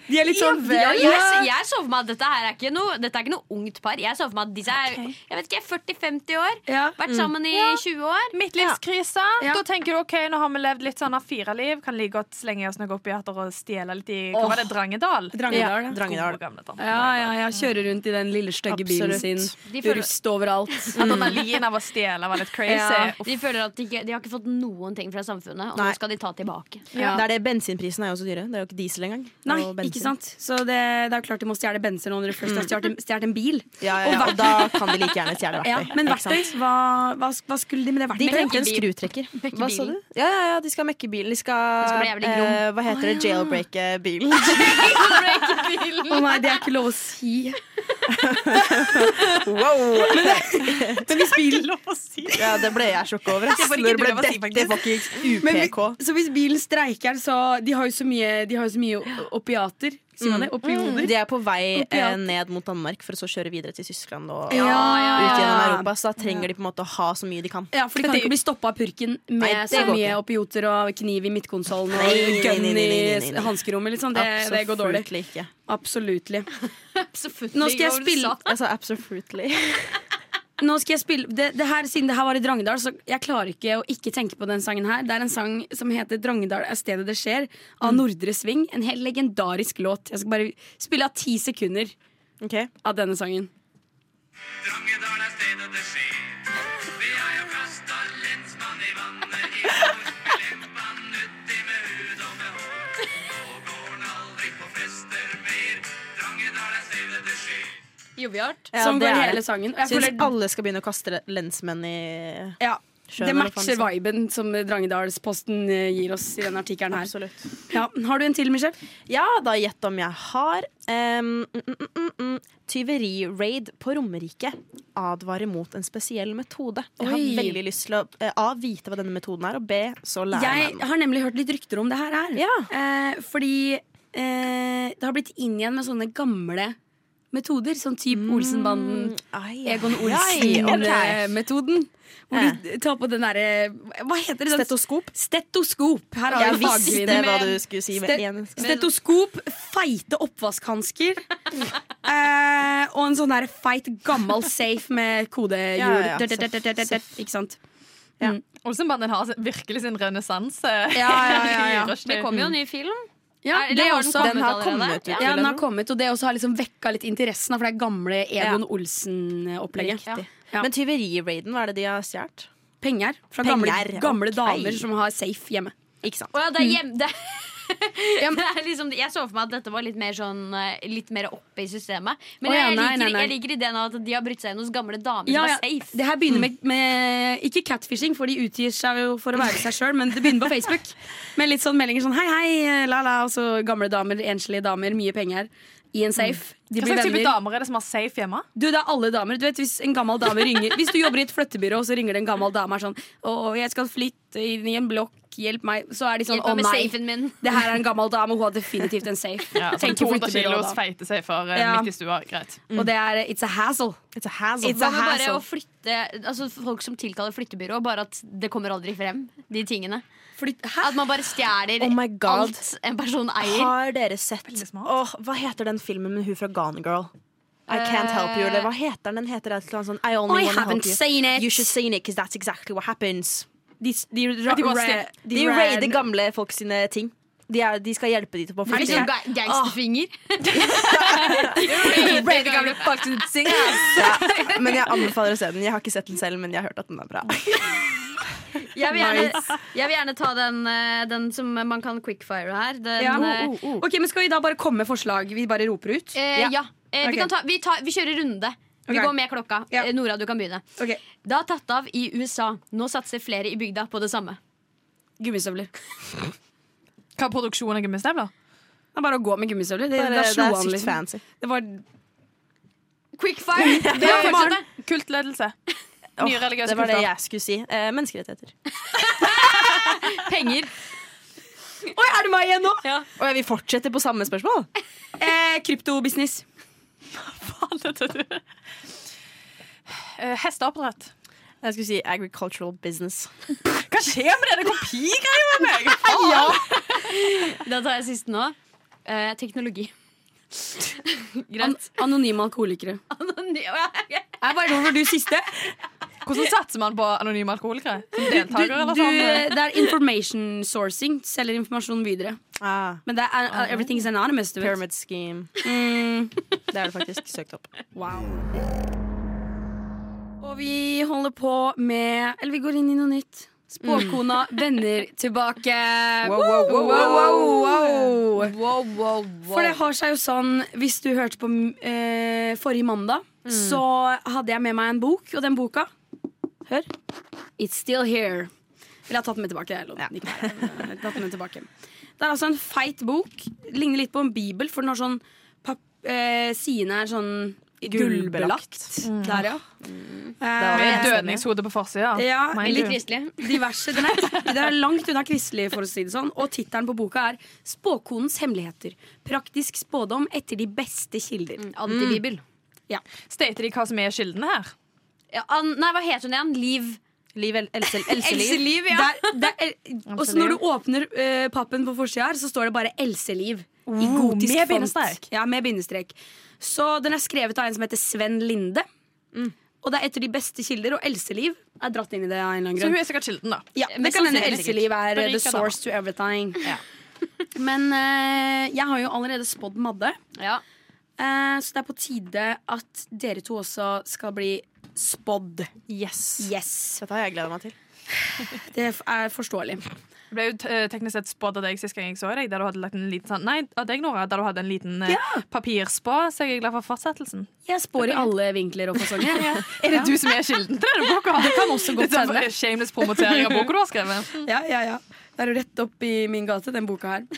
Speaker 3: De er litt
Speaker 6: Ja,
Speaker 3: sånn
Speaker 6: de- ja, jeg, jeg så for meg at dette her er ikke noe, dette er ikke noe ungt par. Jeg så for meg at disse er jeg vet ikke, 40-50 år,
Speaker 3: Ja.
Speaker 6: vært sammen i 20 år.
Speaker 4: Midtlivskrise.
Speaker 3: Ja.
Speaker 4: Da tenker du ok, nå har vi levd litt sånn av fire liv. Kan like godt slenge oss noen opiater og stjele litt i Hva var det? Drangedal?
Speaker 3: Drangedal. Ja.
Speaker 5: Drangedal.
Speaker 4: Gode, gamle Drangedal.
Speaker 3: Ja, ja, ja, kjører rundt i den lille stygge bilen
Speaker 5: Absolutt.
Speaker 3: sin.
Speaker 6: De føler-
Speaker 3: Rust overalt.
Speaker 4: Adrenalin av å stjele var litt crazy.
Speaker 3: Ja.
Speaker 4: Uff.
Speaker 6: De føler at de, ikke, de har ikke fått noen ting fra samfunnet, og
Speaker 5: Nei.
Speaker 6: nå skal de ta tilbake.
Speaker 3: Ja.
Speaker 5: Det er det, bensinprisen er jo så dyre. Det er jo ikke diesel engang.
Speaker 3: Nei,
Speaker 5: Og
Speaker 3: ikke
Speaker 5: bensin.
Speaker 3: sant? Så det, det er jo klart de må stjele bensin når de først har stjålet en- stjålet en bil.
Speaker 5: Ja, ja, ja. Og da kan de like gjerne stjele
Speaker 3: Ja,
Speaker 5: verktøy.
Speaker 3: men
Speaker 5: ikke sant?
Speaker 3: verktøy? Hva, hva, hva skulle de med det
Speaker 5: De
Speaker 3: verktøyet?
Speaker 5: trengte en skrutrekker. Hva sa du?
Speaker 6: bilen.
Speaker 5: Ja, ja, ja, de skal mekke bilen. De skal,
Speaker 6: skal bli jævlig grom.
Speaker 5: eh, Hva heter det? Jailbreake bilen.
Speaker 3: Å nei, det er ikke lov å si.
Speaker 5: Wow!
Speaker 3: Men vi spiller
Speaker 4: Lov å si.
Speaker 5: Ja, det ble jeg sjokk over. ass.
Speaker 4: Det var ikke
Speaker 5: Når
Speaker 4: du
Speaker 5: ble
Speaker 4: lov å si,
Speaker 5: dette fucking
Speaker 3: Men vi,
Speaker 5: UPK.
Speaker 3: så hvis bilen streiker, så De har jo så mye, de har jo så mye opiater. Sier man det?
Speaker 5: Mm.
Speaker 3: Opioder.
Speaker 5: De er på vei eh,
Speaker 3: Opiat.
Speaker 5: ned mot Danmark for å så kjøre videre til Tyskland og
Speaker 3: Ja, ja,
Speaker 5: ut gjennom
Speaker 3: ja.
Speaker 5: Europa. Så da trenger de på en måte å ha så mye de kan.
Speaker 3: Ja, for de kan
Speaker 4: Dette-
Speaker 3: ikke bli stoppa av purken med
Speaker 5: Nei, det
Speaker 3: så
Speaker 5: går
Speaker 3: mye
Speaker 5: ikke.
Speaker 3: opioter og kniv i midtkonsollen
Speaker 5: Nei,
Speaker 3: og
Speaker 5: nei,
Speaker 3: gun
Speaker 5: nei, nei, nei, nei,
Speaker 3: i
Speaker 5: nei.
Speaker 3: hanskerommet. Liksom. Det, det går dårlig.
Speaker 5: Absolutely ikke.
Speaker 3: Absolutt.
Speaker 6: Absolutt.
Speaker 3: Nå skal jeg
Speaker 6: Hva var det du
Speaker 3: spille
Speaker 6: sa?
Speaker 5: Jeg sa absolutely.
Speaker 3: Nå skal jeg spille det, det her, Siden det her var i Drangedal, så jeg klarer ikke å ikke tenke på den sangen her. Det er en sang som heter 'Drangedal er stedet det skjer',
Speaker 5: Mm.
Speaker 3: av Nordre Sving. En helt legendarisk låt. Jeg skal bare spille av ti sekunder
Speaker 5: Ok.
Speaker 3: av denne sangen.
Speaker 10: Drangedal er stedet det skjer. Vi har jo kasta lensmann i vannet i år. Vi lempa han uti med hud og med hår. Og går han aldri på fester mer. Drangedal er stedet det skjer.
Speaker 6: Jobbjart.
Speaker 5: Ja,
Speaker 3: Sånn
Speaker 5: det
Speaker 3: går
Speaker 5: er
Speaker 3: hele
Speaker 5: det.
Speaker 3: sangen. Og jeg
Speaker 5: Syns
Speaker 3: føler
Speaker 5: alle skal begynne å kaste lensmenn i
Speaker 3: Ja,
Speaker 5: Skjønner
Speaker 3: det
Speaker 5: hva faen
Speaker 3: matcher
Speaker 5: du sa.
Speaker 3: viben som Drangedalsposten eh, gir oss i denne artikkelen her.
Speaker 5: Absolutt.
Speaker 3: Ja, har du en til, Michelle?
Speaker 5: Ja, da gjett om jeg har. Um, mm, mm, mm, mm. Tyveriraid på Romerike advarer mot en spesiell metode. Jeg har
Speaker 3: Oi.
Speaker 5: veldig lyst til å eh, A. Vite hva denne metoden er, og B. Så lære
Speaker 3: Jeg
Speaker 5: meg den.
Speaker 3: har nemlig hørt litt rykter om det her. her. Eh, fordi eh, det har blitt inn igjen med sånne gamle metoder. Sånn type
Speaker 5: Mm.
Speaker 3: Olsenbanden,
Speaker 5: Ai,
Speaker 3: mm, Egon eh,
Speaker 5: ai, ok.
Speaker 3: Olsen-metoden. Hvor du tar på den derre Hva heter det? Den-
Speaker 5: Stetoskop?
Speaker 3: Stetoskop. Her har
Speaker 5: Jeg
Speaker 3: vi
Speaker 5: visste
Speaker 3: fagkvinne.
Speaker 5: hva du skulle si. Med
Speaker 3: Ste-
Speaker 5: en.
Speaker 3: Stetoskop, feite oppvaskhansker eh, og en sånn der feit, gammel safe med kodehjul.
Speaker 5: Ja, ja, ja.
Speaker 3: Tørt, tørt, tørt, tørt, tørt, Ikke sant?
Speaker 4: Olsenbanden har sin- virkelig sin renessanse.
Speaker 3: ja, ja, ja.
Speaker 4: I rushtid.
Speaker 6: Det kommer jo en ny film.
Speaker 3: Ja,
Speaker 6: Er- eller
Speaker 3: det er
Speaker 6: har den
Speaker 3: også,
Speaker 6: kommet
Speaker 5: Den har
Speaker 6: allerede?
Speaker 5: kommet ut, ja.
Speaker 3: ja, den har kommet, og det også har liksom vekka litt interessen, da, for det er gamle Egon Olsen-opplegget.
Speaker 5: Riktig.
Speaker 3: Ja.
Speaker 5: Men tyveriraiden, hva er det de har stjålet?
Speaker 3: Penger fra
Speaker 5: Penger,
Speaker 3: gamle, gamle
Speaker 5: ok.
Speaker 3: damer som har safe hjemme.
Speaker 5: Ikke sant?
Speaker 6: Å ja, det er hjem... Det det er liksom, jeg så for meg at dette var litt mer, sånn, eh, litt mer oppe i systemet. Men
Speaker 3: Å ja,
Speaker 6: jeg,
Speaker 3: nei,
Speaker 6: liker,
Speaker 3: nei, nei.
Speaker 6: jeg liker ideen av at de har brutt seg inn hos gamle damer
Speaker 3: Ja,
Speaker 6: som
Speaker 3: ja.
Speaker 6: er safe.
Speaker 3: Det her begynner med, med Ikke catfishing, for de utgir seg jo for å være seg sjøl, men det begynner på Facebook. Med litt sånn meldinger sånn hei, hei, la, la, og så gamle damer, enslige damer, mye penger. I en safe. De
Speaker 4: Hva
Speaker 3: blir
Speaker 4: slags type
Speaker 3: venner.
Speaker 4: damer er det som har safe hjemme?
Speaker 3: Du, det er alle damer. Du vet, Hvis en gammel dame ringer Hvis du jobber i et flyttebyrå, og så ringer det en gammel dame og er sånn Å, jeg skal flytte inn i en blokk, hjelp meg. Så er de sånn
Speaker 6: Hjelp
Speaker 3: Å,
Speaker 6: meg med
Speaker 3: nei.
Speaker 6: safen min.
Speaker 3: Det her er en gammel dame, hun har definitivt en safe.
Speaker 4: sånn
Speaker 3: Tenker
Speaker 4: 200
Speaker 3: flyttebyrå
Speaker 4: kilos
Speaker 3: da.
Speaker 4: feite safer eh,
Speaker 3: Ja.
Speaker 4: midt i stua. Greit.
Speaker 3: Og det er eh, It's a hassle.
Speaker 5: It's a hassle.
Speaker 3: It's
Speaker 6: Hva
Speaker 3: a
Speaker 6: med bare
Speaker 3: hassle.
Speaker 6: å flytte altså Folk som tilkaller flyttebyrå, bare at det kommer aldri frem, de tingene.
Speaker 3: Flytt, hæ?
Speaker 6: At man bare stjeler
Speaker 5: Oh my God.
Speaker 6: alt en person eier.
Speaker 5: Har dere sett
Speaker 4: Veldig smart.
Speaker 5: Åh, Hva heter den filmen med hun fra Gone Girl? I can't help you, eller hva heter den? Den heter et eller annet sånn I only
Speaker 3: I
Speaker 5: wanna help
Speaker 3: Eh. haven't
Speaker 5: you.
Speaker 3: seen it.
Speaker 5: You should seen it, because that's exactly what happens.
Speaker 3: De, de, ra-
Speaker 4: de bare
Speaker 3: ra-
Speaker 4: stjel-
Speaker 3: de
Speaker 5: De
Speaker 3: ran-
Speaker 5: raider gamle folk sine ting. De, er, de skal hjelpe de til å få
Speaker 6: Er det
Speaker 5: flytte.
Speaker 6: sånn ga- gangsterfinger?
Speaker 3: Raider gamle folk som synger.
Speaker 5: Ja, men jeg anbefaler å se den. Jeg har ikke sett den selv, men jeg har hørt at den er bra.
Speaker 6: Jeg vil gjerne, jeg vil gjerne ta den, eh, den som man kan quickfire her. Den,
Speaker 3: Ja.
Speaker 4: Uh,
Speaker 3: Oh.
Speaker 6: eh,
Speaker 3: Ok, men Skal vi da bare komme med forslag? Vi bare roper ut?
Speaker 6: eh, ja. Eh,
Speaker 3: Ok.
Speaker 6: Vi, kan ta, vi, tar- vi kjører runde. Vi
Speaker 3: Ok.
Speaker 6: går med klokka.
Speaker 3: Ja.
Speaker 6: Eh, Nora, du kan begynne.
Speaker 3: Ok,
Speaker 6: Det har tatt av i USA. Nå satser flere i bygda på det samme.
Speaker 3: Gummistøvler.
Speaker 4: Hva er produksjonen av gummistøvler?
Speaker 3: Det er bare å gå med gummistøvler. Det,
Speaker 5: Bare,
Speaker 3: da
Speaker 5: det
Speaker 3: slo
Speaker 5: er
Speaker 3: han
Speaker 5: sykt
Speaker 3: liksom.
Speaker 5: fancy.
Speaker 3: Det var
Speaker 6: Quickfire! Det var fortsatt det.
Speaker 4: Kultledelse.
Speaker 5: Åh,
Speaker 4: Nye religiøse
Speaker 5: det var det
Speaker 4: kulter.
Speaker 5: jeg skulle si. Eh, menneskerettigheter.
Speaker 6: Penger.
Speaker 3: Oi, er det meg igjen nå?
Speaker 5: Og jeg vil fortsette på samme spørsmål.
Speaker 3: Eh, Kryptobusiness.
Speaker 4: Faen, dette er du. Eh, Hesteoppdrett.
Speaker 5: Jeg skulle si agricultural business.
Speaker 4: Hva skjer med denne kopigreia med meg?
Speaker 6: Da tar jeg siste nå. Eh, teknologi.
Speaker 3: An
Speaker 6: Greit.
Speaker 3: anonyme alkoholikere.
Speaker 6: Anony- Å, ja, ok.
Speaker 3: Jeg bare over du siste.
Speaker 4: Hvordan satser man på anonyme alkoholikere? Som
Speaker 3: Du,
Speaker 4: deltaker, eller
Speaker 3: du,
Speaker 4: sånn?
Speaker 3: det er information sourcing. Selger informasjon videre.
Speaker 5: Ah,
Speaker 3: Men det er uh, everything is anonymous. Du vet.
Speaker 5: pyramid scheme. Mm. Det er det faktisk søkt opp.
Speaker 3: Wow. Og vi holder på med Eller vi går inn i noe nytt. Spåkona vender tilbake. Mm. Wow, wow, wow. For det har seg jo sånn Hvis du hørte på eh, forrige mandag, så hadde jeg med meg en bok, og den boka Hør. It's Still Here. Eller jeg har tatt den med tilbake. Jeg lå den ikke her, men jeg har tatt den med tilbake. Det er altså en feit bok. Ligner litt på en bibel, for den har sånn pap eh, Sidene er sånn
Speaker 5: Gullbelagt.
Speaker 3: Der, ja.
Speaker 4: Ah.
Speaker 5: var
Speaker 3: Eh,
Speaker 4: Med dødningshode på forsida.
Speaker 3: Ja,
Speaker 4: Mind
Speaker 3: litt
Speaker 4: you.
Speaker 6: Kristelig.
Speaker 3: diverse. Den er, den er langt unna kristelig, for å si det sånn. Og tittelen på boka er 'Spåkonens hemmeligheter'. Praktisk spådom etter de beste kilder. Mm.
Speaker 6: Antibibel.
Speaker 4: Stater de hva som er kildene her?
Speaker 6: Ja, an, nei, hva heter hun igjen? Liv
Speaker 5: Liv El- Else- Elseliv.
Speaker 6: Elseliv, ja.
Speaker 3: Der, der, og så når du åpner eh, pappen på forsida her, så står det bare 'Elseliv'. I gotisk
Speaker 4: med
Speaker 3: font.
Speaker 4: bindestrek.
Speaker 3: Ja, med bindestrek. Så den er skrevet av en som heter Sven Linde. Og det er etter de beste kilder, og Elseliv er dratt inn i det av en eller annen
Speaker 4: Så
Speaker 3: grunn.
Speaker 4: hun er sikkert kilden, da. Eh, sånn
Speaker 3: Ja, det
Speaker 6: Mest
Speaker 3: kan hende
Speaker 6: sannsynlig.
Speaker 3: Else Liv er uh, the
Speaker 4: Berika dama.
Speaker 3: source to everything. Men eh, jeg har jo allerede spådd Madde,
Speaker 6: Ja.
Speaker 3: eh, så det er på tide at dere to også skal bli spådd.
Speaker 4: Yes.
Speaker 3: Yes.
Speaker 5: Dette har jeg gleda meg til.
Speaker 3: Det f- er forståelig.
Speaker 4: Det ble jo eh, teknisk sett spådd av deg sist gang jeg så deg, der du hadde lagt en liten sånn Nei, av deg, Nora, der du hadde en liten eh, papirspå, så jeg er glad for fortsettelsen.
Speaker 3: Jeg spår i alle vinkler og fasonger.
Speaker 4: Er det du som er kilden til denne boka? Det kan også godt hende. Shameless promotering av boka du har skrevet.
Speaker 3: Ja, ja, ja. Det er jo rett opp i min gate, den boka her.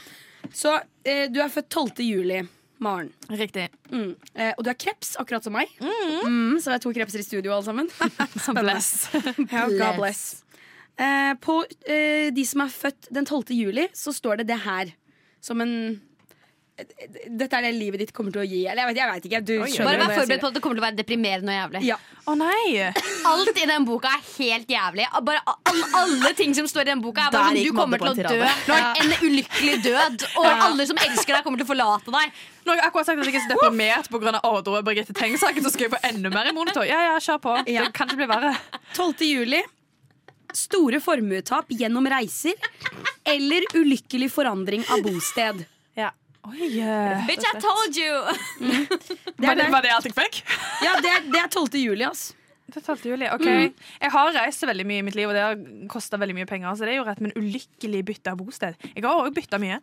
Speaker 3: Så eh, du er født 12. juli, Maren.
Speaker 4: Riktig.
Speaker 3: Mm. Eh, og du er kreps, akkurat som meg. Mm, så det er to krepser i studio, alle sammen.
Speaker 4: Bless.
Speaker 3: Ja, God bless. Eh, på eh, de som er født den 12. juli, så står det det her. Som en Dette er det livet ditt kommer til å gi. Eller jeg vet, jeg vet ikke. Du
Speaker 6: Bare
Speaker 3: skjønner
Speaker 6: vær forberedt på at det kommer til å være deprimerende og jævlig.
Speaker 3: Ja.
Speaker 4: Å nei!
Speaker 6: Alt i den boka er helt jævlig. Bare, all, alle ting som står i den boka, er
Speaker 5: Der
Speaker 6: bare sånn,
Speaker 5: gikk
Speaker 6: du kommer til
Speaker 5: Madde
Speaker 6: å
Speaker 5: på en
Speaker 6: dø. En ulykkelig død. Og alle som elsker deg, kommer til å forlate deg.
Speaker 4: Nå har jeg akkurat sagt at jeg er så deprimert pga. Ordre og Birgitte Tengs-saken, så skal jeg få enda mer i monitor. Ja, ja, kjør på. Det
Speaker 3: Ja.
Speaker 4: kan ikke bli verre.
Speaker 3: 12. juli. Store formuetap gjennom reiser eller ulykkelig forandring av bosted.
Speaker 4: Oi, eh,
Speaker 6: Bitch, I told you!
Speaker 3: Det
Speaker 4: var,
Speaker 3: er
Speaker 4: det,
Speaker 3: det.
Speaker 4: var det alt jeg fikk?
Speaker 3: Ja, det er, det er 12. juli, ass.
Speaker 4: Det er 12. juli, ok Jeg har reist så veldig mye i mitt liv, og det har kosta veldig mye penger. Så det er jo rett, men ulykkelig bytte av bosted. Jeg har òg bytta mye.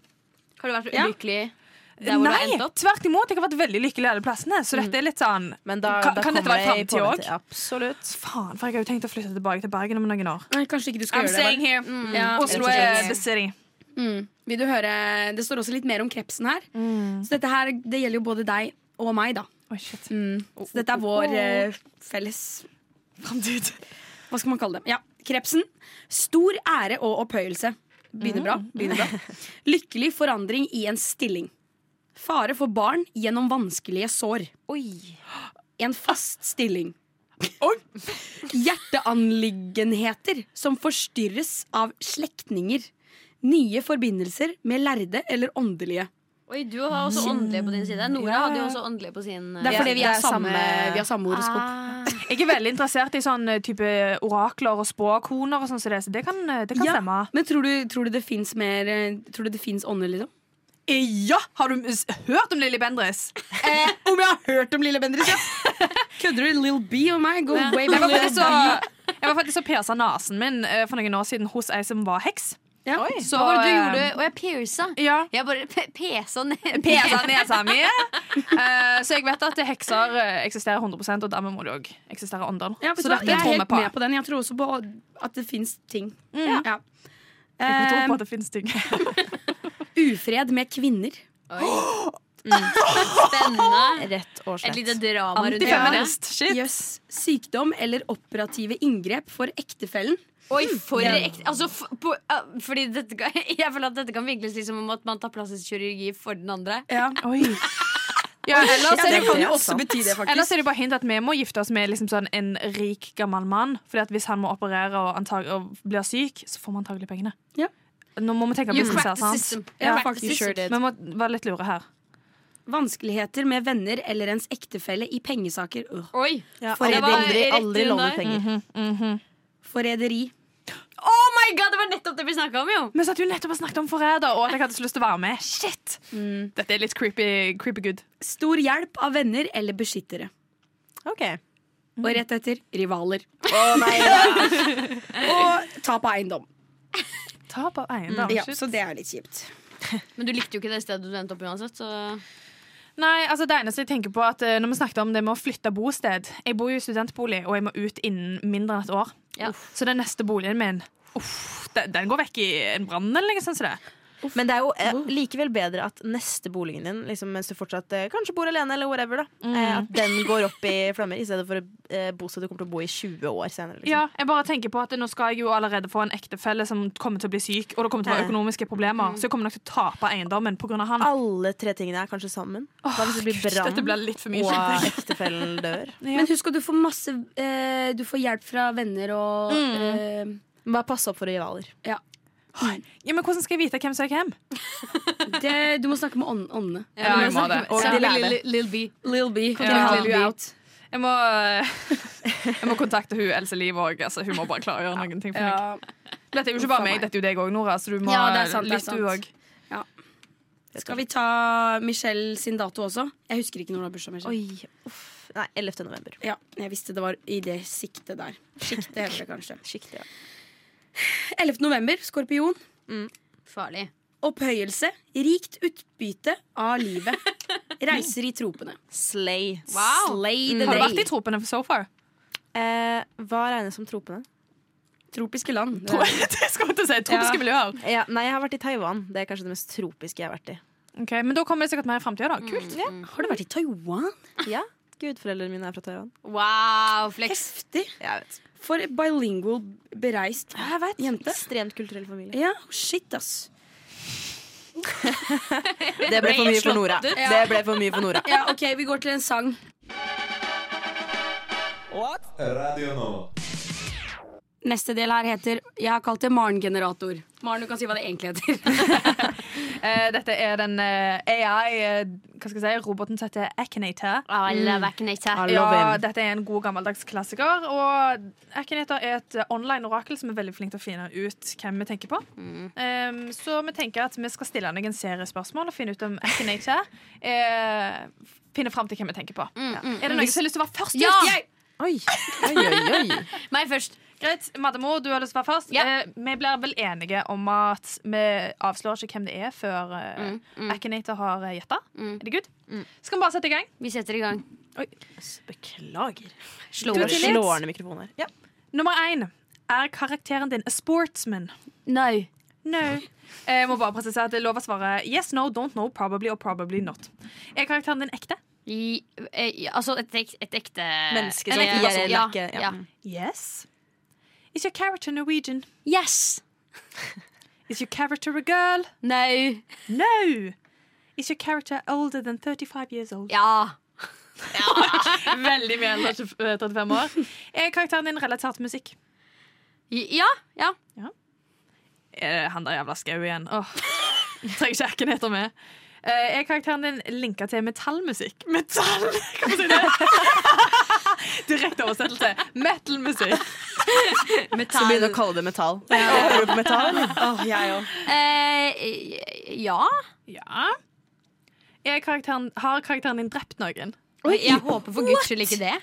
Speaker 6: Har du vært
Speaker 3: Ja.
Speaker 6: ulykkelig der hvor du har
Speaker 4: Nei,
Speaker 6: endt opp?
Speaker 4: tvert imot. Jeg har vært veldig lykkelig alle plassene. Så dette er litt sånn
Speaker 5: Men da,
Speaker 4: Kan-
Speaker 5: da
Speaker 4: kan dette
Speaker 5: kommer
Speaker 4: være
Speaker 5: jeg i
Speaker 4: fremtid
Speaker 5: påvente-
Speaker 4: også?
Speaker 5: Absolutt.
Speaker 4: Faen, for jeg har jo tenkt å flytte tilbake til Bergen om noen år.
Speaker 3: Nei, Kanskje ikke du skal
Speaker 4: I'm
Speaker 3: gjøre det.
Speaker 4: staying here.
Speaker 3: vel? Ja,
Speaker 4: Oslo
Speaker 3: rett og
Speaker 4: er
Speaker 3: slett.
Speaker 4: the city.
Speaker 3: Mm. Vil du høre Det står også litt mer om krepsen her.
Speaker 6: Mm.
Speaker 3: Så dette her, det gjelder jo både deg og meg, da.
Speaker 4: Oi, shit.
Speaker 3: Så dette er vår eh, felles
Speaker 4: Framtid.
Speaker 3: Hva skal man kalle det? Ja, Krepsen. Stor ære og opphøyelse. Begynner bra. begynner bra Lykkelig forandring i en stilling. Fare for barn gjennom vanskelige sår. En fast stilling. Hjerteanliggenheter som forstyrres av slektninger. Nye forbindelser med lærde eller åndelige.
Speaker 6: Oi, du har også åndelige på din side. Nora hadde jo også åndelige på sin. eh,
Speaker 3: Det er fordi vi
Speaker 5: det
Speaker 3: har
Speaker 5: er
Speaker 3: samme,
Speaker 5: samme-
Speaker 3: vi har samme horoskop.
Speaker 4: Jeg er veldig interessert i sånn eh, type orakler og spåkoner og sånn, som det, så det kan, eh, det kan
Speaker 3: Ja,
Speaker 4: stemme.
Speaker 3: Men tror du, tror du det fins mer eh, Tror du det fins ånder, liksom?
Speaker 4: Eh, Ja! Har du s- hørt om Lilly Bendriss?
Speaker 3: Om jeg har hørt om Lille Bendriss, ja! Kødder du? Lill B og meg go way
Speaker 4: Jeg
Speaker 3: back.
Speaker 4: var faktisk så, jeg var faktisk så persa nesen min eh, for noen år siden hos ei som var heks.
Speaker 3: Ja.
Speaker 4: Så,
Speaker 6: Hva var det du
Speaker 4: eh,
Speaker 6: gjorde? Og jeg piersa.
Speaker 4: Ja.
Speaker 6: Jeg bare pe- pesa ned.
Speaker 4: Persa nesa mi. Eh, så jeg vet at hekser eh, eksisterer 100 og dermed må det òg eksistere ånder.
Speaker 3: Ja, vet
Speaker 4: så
Speaker 3: du hva?
Speaker 4: dette
Speaker 3: Jeg er
Speaker 4: tror vi
Speaker 3: helt
Speaker 4: på.
Speaker 3: med på den. Jeg tror også på at det fins ting. Ja.
Speaker 4: Jeg tror på
Speaker 3: Eh,
Speaker 4: at det finnes ting.
Speaker 3: ufred med kvinner.
Speaker 6: Spennende.
Speaker 5: Rett og
Speaker 6: Et
Speaker 5: slett.
Speaker 6: lite drama rundt hjørnet.
Speaker 4: Antifeminist. Shit.
Speaker 3: Jøss. Sykdom eller operative inngrep for ektefellen.
Speaker 6: Oi, for ekte altså, f- på, ah, Fordi dette kan, jeg føler at dette kan vinkles liksom om at man tar plastisk kirurgi for den andre.
Speaker 4: Oi. Ja, ellers er det
Speaker 5: det kan jo
Speaker 3: også bety det,
Speaker 4: Ellers er det bare hint at vi må gifte oss med liksom sånn en rik, gammel mann. Fordi at hvis han må operere og, antag og blir syk, så får man antagelig pengene.
Speaker 3: Ja.
Speaker 4: Nå må vi tenke
Speaker 6: You
Speaker 4: business her,
Speaker 6: cracked
Speaker 4: sant?
Speaker 6: the system.
Speaker 3: Ja,
Speaker 6: Cracked the
Speaker 3: faktisk.
Speaker 6: system.
Speaker 4: Vi må være litt lure her.
Speaker 3: Vanskeligheter med venner eller ens ektefelle i pengesaker. Øh.
Speaker 6: Oi,
Speaker 5: Ja,
Speaker 3: For
Speaker 5: aldri,
Speaker 6: det var
Speaker 5: aldri,
Speaker 6: rett
Speaker 5: aldri
Speaker 6: unna.
Speaker 5: låne penger.
Speaker 4: Mhm.
Speaker 3: Forræderi.
Speaker 6: Oh my god, det var nettopp det vi snakka om, jo!
Speaker 4: Vi satt jo nettopp og snakket om forræder, og at jeg hadde så lyst til å være med. Shit! Dette er litt creepy, creepy good.
Speaker 3: Stor hjelp av venner eller beskyttere.
Speaker 5: Ok.
Speaker 3: Og rett etter rivaler. og tap av eiendom.
Speaker 4: Tap av eiendom.
Speaker 3: Ja,
Speaker 4: Mm. shit.
Speaker 3: så det er litt kjipt.
Speaker 6: Men du likte jo ikke det stedet du endte opp uansett, så
Speaker 4: Nei, altså det eneste jeg tenker på er at eh, Når vi snakket om det med å flytte bosted Jeg bor jo i studentbolig, og jeg må ut innen mindre enn et år.
Speaker 6: Ja.
Speaker 4: Så den neste boligen min uff, den, den går vekk i en brann eller noe sånt. som det.
Speaker 5: Men det er jo eh, likevel bedre at neste boligen din, liksom, mens du fortsatt eh, kanskje bor alene, eller whatever, da,
Speaker 4: Mm.
Speaker 5: eh, at den går opp i flammer, i stedet for et eh, bosted du kommer til å bo i 20 år senere. Liksom.
Speaker 4: Ja, jeg bare tenker på at Nå skal jeg jo allerede få en ektefelle som kommer til å bli syk, og det kommer til å være
Speaker 5: Ja.
Speaker 4: økonomiske problemer, så jeg kommer nok til å tape eiendommen pga. han.
Speaker 5: Alle tre tingene er kanskje sammen. Hva hvis det blir
Speaker 4: Gud, dette ble
Speaker 5: brann,
Speaker 4: litt for mye
Speaker 5: og
Speaker 4: skjønt.
Speaker 5: ektefellen dør?
Speaker 3: Men husk at du får masse eh, Du får hjelp fra venner og eh,
Speaker 5: Bare pass opp for rivaler.
Speaker 3: Ja.
Speaker 4: Ja, men hvordan skal jeg vite hvem som er hvem?
Speaker 3: Det, du må snakke med ånd- åndene.
Speaker 4: Ja, jeg må det. Og
Speaker 3: Ja.
Speaker 4: Lil-
Speaker 3: Lil-
Speaker 6: Lil B.
Speaker 3: Lil B. Kan
Speaker 4: Ja.
Speaker 3: ikke help
Speaker 4: Lil
Speaker 3: you
Speaker 4: B.
Speaker 3: out.
Speaker 4: Jeg må, eh, jeg må kontakte hun Else Liv òg. Altså, hun må bare klargjøre noen ting for meg.
Speaker 3: Ja.
Speaker 4: Dette er jo ikke bare meg, dette er jo deg òg, Nora. Så du må
Speaker 3: Ja, det er sant, det er
Speaker 4: litt du
Speaker 3: sant.
Speaker 4: òg.
Speaker 3: Skal vi ta Michelle sin dato også? Jeg husker ikke når hun har bursdag. Michelle.
Speaker 5: Oi, uff. Nei, 11. november.
Speaker 3: Ja, jeg visste det var i det siktet der. Siktet heter det kanskje.
Speaker 5: Skikt, ja.
Speaker 3: 11. november, skorpion.
Speaker 6: Farlig.
Speaker 3: Mm. Opphøyelse. Rikt utbytte av livet. Reiser i tropene.
Speaker 5: Slay.
Speaker 3: Mm.
Speaker 6: Wow.
Speaker 5: Slay the
Speaker 4: Har du
Speaker 5: day.
Speaker 4: vært i tropene so far?
Speaker 5: Eh, hva regnes som tropene?
Speaker 3: Tropiske land. Det
Speaker 4: Tro-
Speaker 3: er-
Speaker 4: det skal jeg til å si. Tropiske miljøer.
Speaker 5: Ja, nei, jeg har vært i Taiwan. Det er kanskje det mest tropiske jeg har vært i.
Speaker 4: Ok, men da kommer jeg sikkert mer i framtida, da. Kult.
Speaker 3: Har du vært i Taiwan?
Speaker 5: Ja, Gudforeldrene mine er fra Taiwan.
Speaker 6: Wow, flex.
Speaker 3: Heftig.
Speaker 5: Jeg vet.
Speaker 3: For en bilingual bereist jente.
Speaker 5: Ekstremt kulturell familie.
Speaker 3: Ja, shit, ass.
Speaker 5: Det ble for mye for Nora. Det ble for mye for Nora.
Speaker 3: Ja, OK, vi går til en sang.
Speaker 7: Radio Nova.
Speaker 3: Neste del her heter Jeg har kalt det Maren-generator. Maren, du kan si hva det egentlig heter.
Speaker 4: Eh, dette er den eh, AI eh, Hva skal jeg si? Roboten som heter Akinator.
Speaker 6: I love Akinator.
Speaker 4: Ja, dette er en god gammeldags klassiker. Og Akinator er et eh, online orakel som er veldig flink til å finne ut hvem vi tenker på. Ehm, så vi tenker at vi skal stille deg en serie spørsmål og finne ut om Akinator eh, finner fram til hvem vi tenker på. Er det noen som har lyst til å være først?
Speaker 6: Ja!
Speaker 4: ut? Jeg-
Speaker 5: Oi, oi, oi, oi.
Speaker 6: Meg først.
Speaker 4: Greit, Maddemo, du har lyst til å være først.
Speaker 6: Ja.
Speaker 4: Eh, vi blir vel enige om at vi avslører ikke hvem det er før eh,
Speaker 6: Mm,
Speaker 4: Akinator har eh, gjetta. Er det good? Skal vi bare sette i gang?
Speaker 6: Vi setter i gang.
Speaker 5: Beklager.
Speaker 6: Slå
Speaker 5: Du
Speaker 6: oss.
Speaker 5: slår ned mikrofonen her. Ja.
Speaker 4: Nummer én. Er karakteren din a sportsman?
Speaker 6: Nei.
Speaker 4: No. Eh, Jeg må bare presisere at det er lov å svare yes, no, don't know, probably or probably not. Er karakteren din ekte?
Speaker 6: I, eh, altså et, ek, et ekte
Speaker 5: Menneske som
Speaker 6: Eller
Speaker 5: ikke
Speaker 6: en person.
Speaker 5: er
Speaker 6: ja,
Speaker 5: ikke- ja.
Speaker 6: ja.
Speaker 4: Yes. Is your character Norwegian?
Speaker 6: Yes!
Speaker 4: Is your character a girl?
Speaker 6: No.
Speaker 4: No. Is your character older than 35 years old?
Speaker 6: Ja.
Speaker 4: Veldig mye eldre enn 35 år. Er karakteren din relatert til musikk?
Speaker 6: I- Ja. ja.
Speaker 4: Er det Eh, han der jævla skau igjen? Åh, Trenger ikke ekken etter meg. Eh, Er karakteren din linka til metallmusikk? Metall! Kan man si det? Direkte oversettelse. Metal-musikk.
Speaker 5: Så begynner du å kalle det metall. Hører du på metall, eller?
Speaker 3: jeg òg.
Speaker 6: Eh, ja.
Speaker 4: Ja. Er karakteren, har karakteren din drept noen?
Speaker 6: Jeg håper for guds skyld ikke det.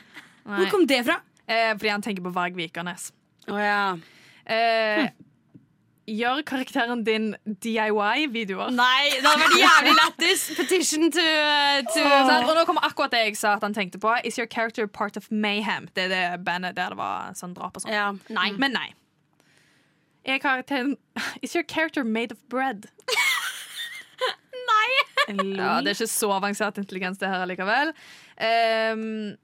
Speaker 3: Hvor kom det fra?
Speaker 4: Eh, fordi han tenker på Varg Vikernes.
Speaker 3: Å ja.
Speaker 4: Eh, Gjør karakteren din DIY-videoer?
Speaker 6: Nei, det hadde vært jævlig lættis. Petition to, eh, to
Speaker 4: Sant? Og nå kommer akkurat det jeg sa at han tenkte på. Is your character part of Mayhem? Det er det bandet der det var sånn drap og sånn.
Speaker 3: ja.
Speaker 6: Nei.
Speaker 4: Men nei. Er karakteren Is your character made of bread? nei! Ja, det er ikke så avansert intelligens, det her likevel. Ehm,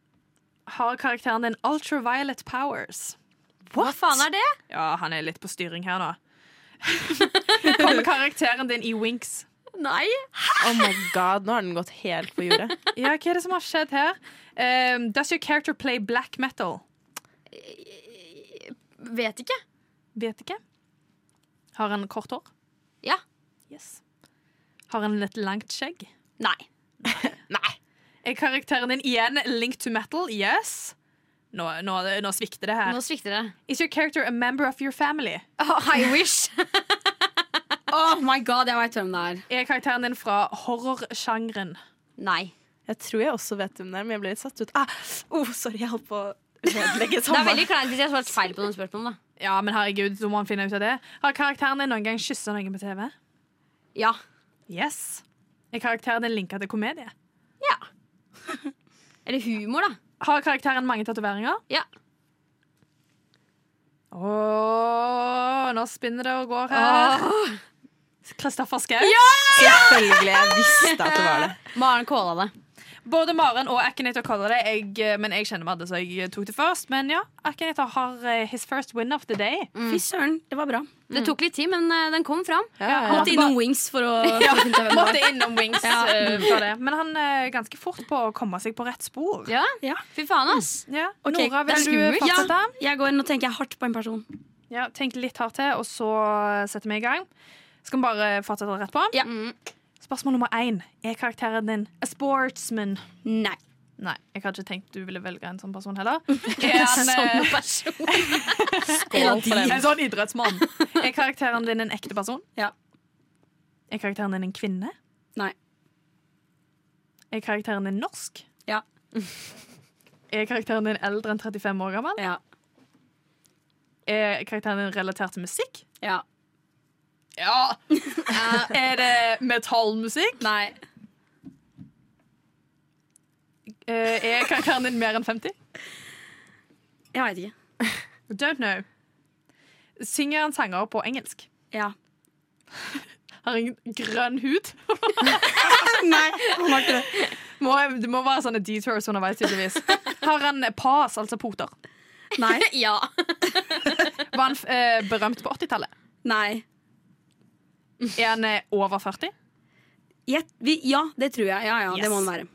Speaker 4: har karakteren din ultraviolet powers?
Speaker 6: Hva faen er det?
Speaker 4: Ja, han er litt på styring her nå. Kommer karakteren din i winks?
Speaker 6: Nei.
Speaker 5: Oh my god, nå har den gått helt på jordet.
Speaker 4: Ja, hva er det som har skjedd her? Ehm, does your character play black metal?
Speaker 6: Vet ikke.
Speaker 4: Vet ikke. Har han kort hår?
Speaker 6: Ja.
Speaker 4: Yes. Har han litt langt skjegg?
Speaker 6: Nei.
Speaker 4: Er karakteren din igjen linked to metal? Yes. Nå, nå, nå svikter det her.
Speaker 6: Nå svikter det.
Speaker 4: Is your character a member of your family?
Speaker 6: Oh, I wish.
Speaker 3: Oh my god, jeg veit hvem det er.
Speaker 4: Er karakteren din fra horrorsjangeren?
Speaker 6: Nei.
Speaker 5: Jeg tror jeg også vet hvem det er, men jeg ble litt satt ut. Ah, oh, sorry, jeg holdt på å ødelegge
Speaker 6: Det er
Speaker 5: sammen.
Speaker 6: veldig kleint hvis jeg svarte feil på noen spørsmål. da
Speaker 4: Ja, men herregud, så må han finne ut av det. Har karakteren din noen gang kyssa noen på TV?
Speaker 6: Ja.
Speaker 4: Yes. Er karakteren din linka til komedie?
Speaker 6: ja. Eller humor, da.
Speaker 4: Har karakteren mange tatoveringer?
Speaker 6: Ja.
Speaker 4: Åh, nå spinner det og går her. Kristoffer Schau.
Speaker 6: Ah.
Speaker 5: Selvfølgelig. Jeg visste at det var det.
Speaker 6: Maren kåla det.
Speaker 4: Både Maren og Akinator kaller det. Jeg, eh, men jeg kjenner Madde, så jeg eh, tok det først. Men ja, Akinator har eh, his first win of the day.
Speaker 3: Fy søren, det var bra.
Speaker 6: Det tok litt tid, men eh, den kom fram.
Speaker 3: Han måtte innom Wings for å finne ut hvem det var.
Speaker 4: Måtte innom Wings eh, for det. Men han er ganske fort på å komme seg på rett spor.
Speaker 6: Ja.
Speaker 3: Ja.
Speaker 6: Fy faen, ass.
Speaker 4: Ja.
Speaker 3: Ok,
Speaker 4: Nora,
Speaker 3: det er
Speaker 4: vil du
Speaker 3: skummelt.
Speaker 4: fortsette?
Speaker 3: Jeg går, Nå tenker jeg hardt på en person.
Speaker 4: Ja, tenk litt hardt til, og så eh, setter vi i gang. Skal vi bare fortsette rett på? Mm.
Speaker 6: Ja.
Speaker 4: Spørsmål nummer én. Er karakteren din a sportsman?
Speaker 3: Nei.
Speaker 4: Nei, jeg hadde ikke tenkt du ville velge en sånn person heller. Er han, eh,
Speaker 3: En av de.
Speaker 4: en sånn idrettsmann. Er karakteren din en ekte person?
Speaker 3: Ja.
Speaker 4: Er karakteren din en kvinne?
Speaker 3: Nei.
Speaker 4: Er karakteren din norsk?
Speaker 3: Ja.
Speaker 4: Er karakteren din eldre enn 35 år gammel?
Speaker 3: Ja.
Speaker 4: Er karakteren din relatert til musikk?
Speaker 3: ja.
Speaker 4: Ja! er det metallmusikk?
Speaker 3: Nei.
Speaker 4: Eh, Er karakteren din mer enn 50?
Speaker 3: Jeg veit ikke.
Speaker 4: Don't know. Synger han sanger på engelsk?
Speaker 3: Ja.
Speaker 4: Har han grønn hud?
Speaker 3: Nei, han var ikke det.
Speaker 4: Må, det må være sånne detours underveis, tydeligvis. Har han pas, altså poter?
Speaker 3: Nei.
Speaker 6: Ja.
Speaker 4: Var han eh, berømt på 80-tallet?
Speaker 3: Nei.
Speaker 4: Er han eh, over 40?
Speaker 3: Ja, vi, ja, det tror jeg. Ja, ja,
Speaker 4: Yes.
Speaker 3: Det må han være.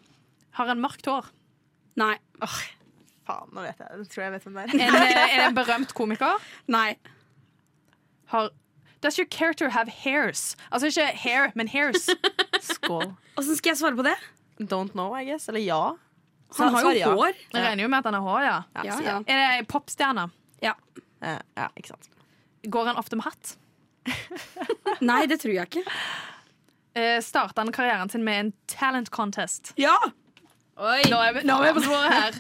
Speaker 4: Har han mørkt hår?
Speaker 3: Nei.
Speaker 5: Faen, nå vet jeg det. Tror jeg vet hvem det er.
Speaker 4: Er han, eh, er han en berømt komiker?
Speaker 3: Nei.
Speaker 4: Har Does your character have hairs? Altså ikke hair, men hairs.
Speaker 5: Skål.
Speaker 3: Åssen skal jeg svare på det?
Speaker 5: Don't know, I guess. Eller ja.
Speaker 3: Han har
Speaker 5: Svar ja.
Speaker 3: jo hår.
Speaker 4: Jeg regner jo med at han har hår, ja.
Speaker 3: Ja,
Speaker 5: sier
Speaker 3: ja.
Speaker 5: jeg.
Speaker 4: Er det ei popstjerne?
Speaker 5: Eh, ja, ikke sant.
Speaker 4: Går han ofte med hatt?
Speaker 3: Nei, det tror jeg ikke.
Speaker 4: Eh, starter han karrieren sin med en talent contest?
Speaker 3: Ja!
Speaker 6: Oi.
Speaker 4: Nå er vi, nå er vi på sporet her.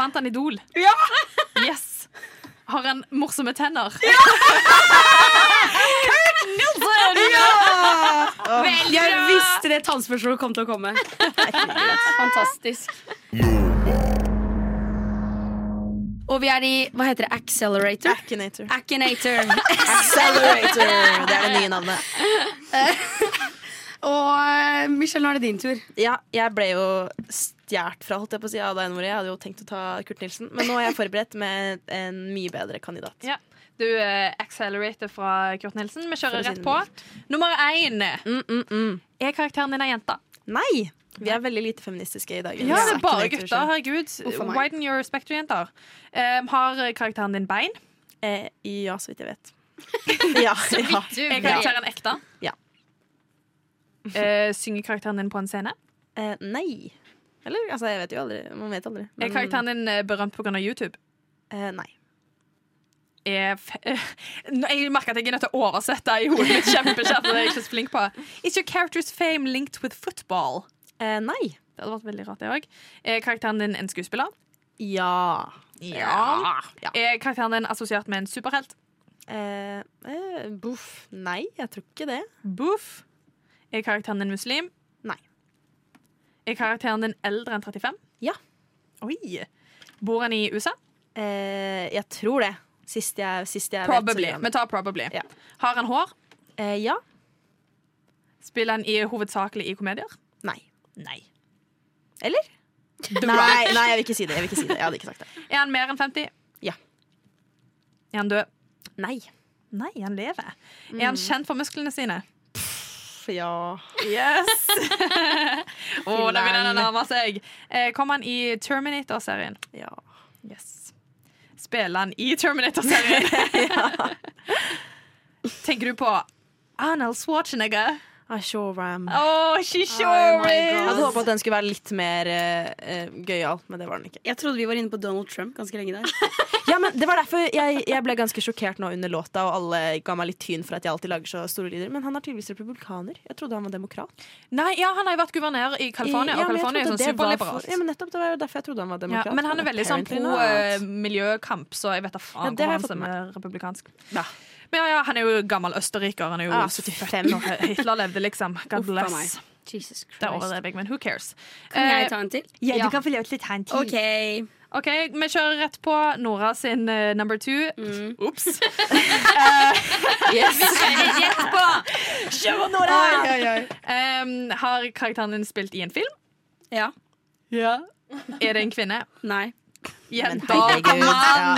Speaker 4: Vant han Idol? Ja! Yes. Har han morsomme tenner? Ja!
Speaker 3: Jeg visste det tannspørsmålet kom til å komme.
Speaker 6: Fantastisk.
Speaker 3: Og vi er i hva heter det, accelerator?
Speaker 5: Akinator.
Speaker 3: Akinator.
Speaker 5: Accelerator! Det er det nye navnet.
Speaker 3: Og eh, Michelle, nå er det din tur.
Speaker 5: Ja, jeg ble jo stjålet fra, holdt jeg på å si, av deg, Nore. Jeg hadde jo tenkt å ta Kurt Nilsen, men nå er jeg forberedt med en mye bedre kandidat.
Speaker 4: Ja. Du eh, accelerator fra Kurt Nilsen. Vi
Speaker 5: For å
Speaker 4: kjører
Speaker 5: si
Speaker 4: rett
Speaker 5: det
Speaker 4: på. Nummer én.
Speaker 5: Mm, mm, mm.
Speaker 4: Er karakteren din ei jente?
Speaker 5: Nei! Vi er veldig lite feministiske i dag.
Speaker 4: Ja, det er bare gutter. Herregud.
Speaker 3: Uff a meg.
Speaker 4: Widen your spectre, jenter. Eh, har karakteren din bein?
Speaker 5: Eh, ja, så vidt jeg vet. Ja, ja.
Speaker 4: Er karakteren ekte?
Speaker 5: Ja.
Speaker 4: Eh, synger karakteren din på en scene?
Speaker 5: Eh, nei. Eller, altså, jeg vet jo aldri. Man vet aldri.
Speaker 4: Er karakteren din eh, berømt pga. YouTube?
Speaker 5: eh, Nei.
Speaker 4: er f Nå- Jeg merker at jeg er nødt til å oversette i hodet mitt kjempekjapt. og Det er jeg ikke så flink på. Is your character's fame linked with football?
Speaker 5: Eh, nei.
Speaker 4: Det hadde vært veldig rart, det òg. Er karakteren din en skuespiller?
Speaker 5: Ja.
Speaker 4: Ja. Er karakteren din assosiert med en superhelt?
Speaker 5: Eh, eh, boff. Nei, jeg tror ikke det.
Speaker 4: Boof. Er karakteren din muslim?
Speaker 5: Nei.
Speaker 4: Er karakteren din eldre enn 35?
Speaker 5: Ja.
Speaker 4: Oi. Bor han i USA?
Speaker 5: Eh, jeg tror det. Sist jeg, sist jeg
Speaker 4: Probably.
Speaker 5: vet. så gjør han
Speaker 4: Vi
Speaker 5: det.
Speaker 4: tar probably.
Speaker 5: Ja.
Speaker 4: Har han hår?
Speaker 5: Eh, ja.
Speaker 4: Spiller han i hovedsakelig i komedier?
Speaker 5: Nei.
Speaker 4: Nei.
Speaker 5: Eller? Nei, nei, jeg vil ikke si det. Jeg vil ikke si det. Jeg hadde ikke sagt det.
Speaker 4: Er han mer enn 50?
Speaker 5: Ja.
Speaker 4: Er han død?
Speaker 5: Nei.
Speaker 4: Nei, han lever. Er han kjent for musklene sine?
Speaker 5: For ja
Speaker 4: Yes! Å, da begynner det å nærme seg. Eh, Kom han i Terminator-serien?
Speaker 5: Ja.
Speaker 4: Yes. Spiller han i Terminator-serien? Tenker du på Arnold Schwarzenegger?
Speaker 5: Ashoram.
Speaker 4: Å, she
Speaker 6: Oh
Speaker 4: sure
Speaker 6: my
Speaker 4: is!
Speaker 5: Jeg hadde håpet at den skulle være litt mer eh, eh, gøyal, men det var den ikke.
Speaker 3: Jeg trodde vi var inne på Donald Trump ganske lenge der.
Speaker 5: Ja, men Det var derfor jeg, jeg ble ganske sjokkert nå under låta, og alle ga meg litt tyn for at jeg alltid lager så store lyder. Men han er tydeligvis republikaner. Jeg trodde han var demokrat.
Speaker 4: Nei, ja, han har jo vært guvernør i California, og
Speaker 5: Ja, men jeg
Speaker 4: California er
Speaker 5: trodde
Speaker 4: sånn
Speaker 5: det var
Speaker 4: superliberalt.
Speaker 5: for- Ja, men nettopp, Det var jo derfor jeg trodde han var
Speaker 4: Ja,
Speaker 5: demokrat.
Speaker 4: men han er veldig sånn
Speaker 5: Apparently
Speaker 4: pro eh,
Speaker 5: not.
Speaker 4: miljøkamp, så jeg vet da faen
Speaker 5: Ja, det
Speaker 4: hvor
Speaker 5: har jeg
Speaker 4: han
Speaker 5: fått med
Speaker 4: stemmer republikansk.
Speaker 5: Ja.
Speaker 4: Men ja, ja, han er jo gammel østerriker. Han er jo
Speaker 5: Ah,
Speaker 4: 75 år. Hitler levde, liksom.
Speaker 3: Uff,
Speaker 4: God
Speaker 3: faen
Speaker 4: bless.
Speaker 3: meg.
Speaker 6: Jesus
Speaker 4: Det
Speaker 6: Christ.
Speaker 4: overdrev jeg, men who cares.
Speaker 3: Kan
Speaker 4: Eh,
Speaker 3: jeg ta en til?
Speaker 4: ja,
Speaker 6: Ja.
Speaker 4: du kan få lov til å ta en til.
Speaker 3: OK.
Speaker 4: OK, vi kjører rett på Nora sin eh, number two. Ops.
Speaker 6: Rett på!
Speaker 5: Kjør, Nora!
Speaker 4: Em, har karakteren din spilt i en film?
Speaker 3: Ja.
Speaker 4: Er det en kvinne?
Speaker 3: Nei.
Speaker 5: Men
Speaker 4: Jente?
Speaker 5: herregud, ja,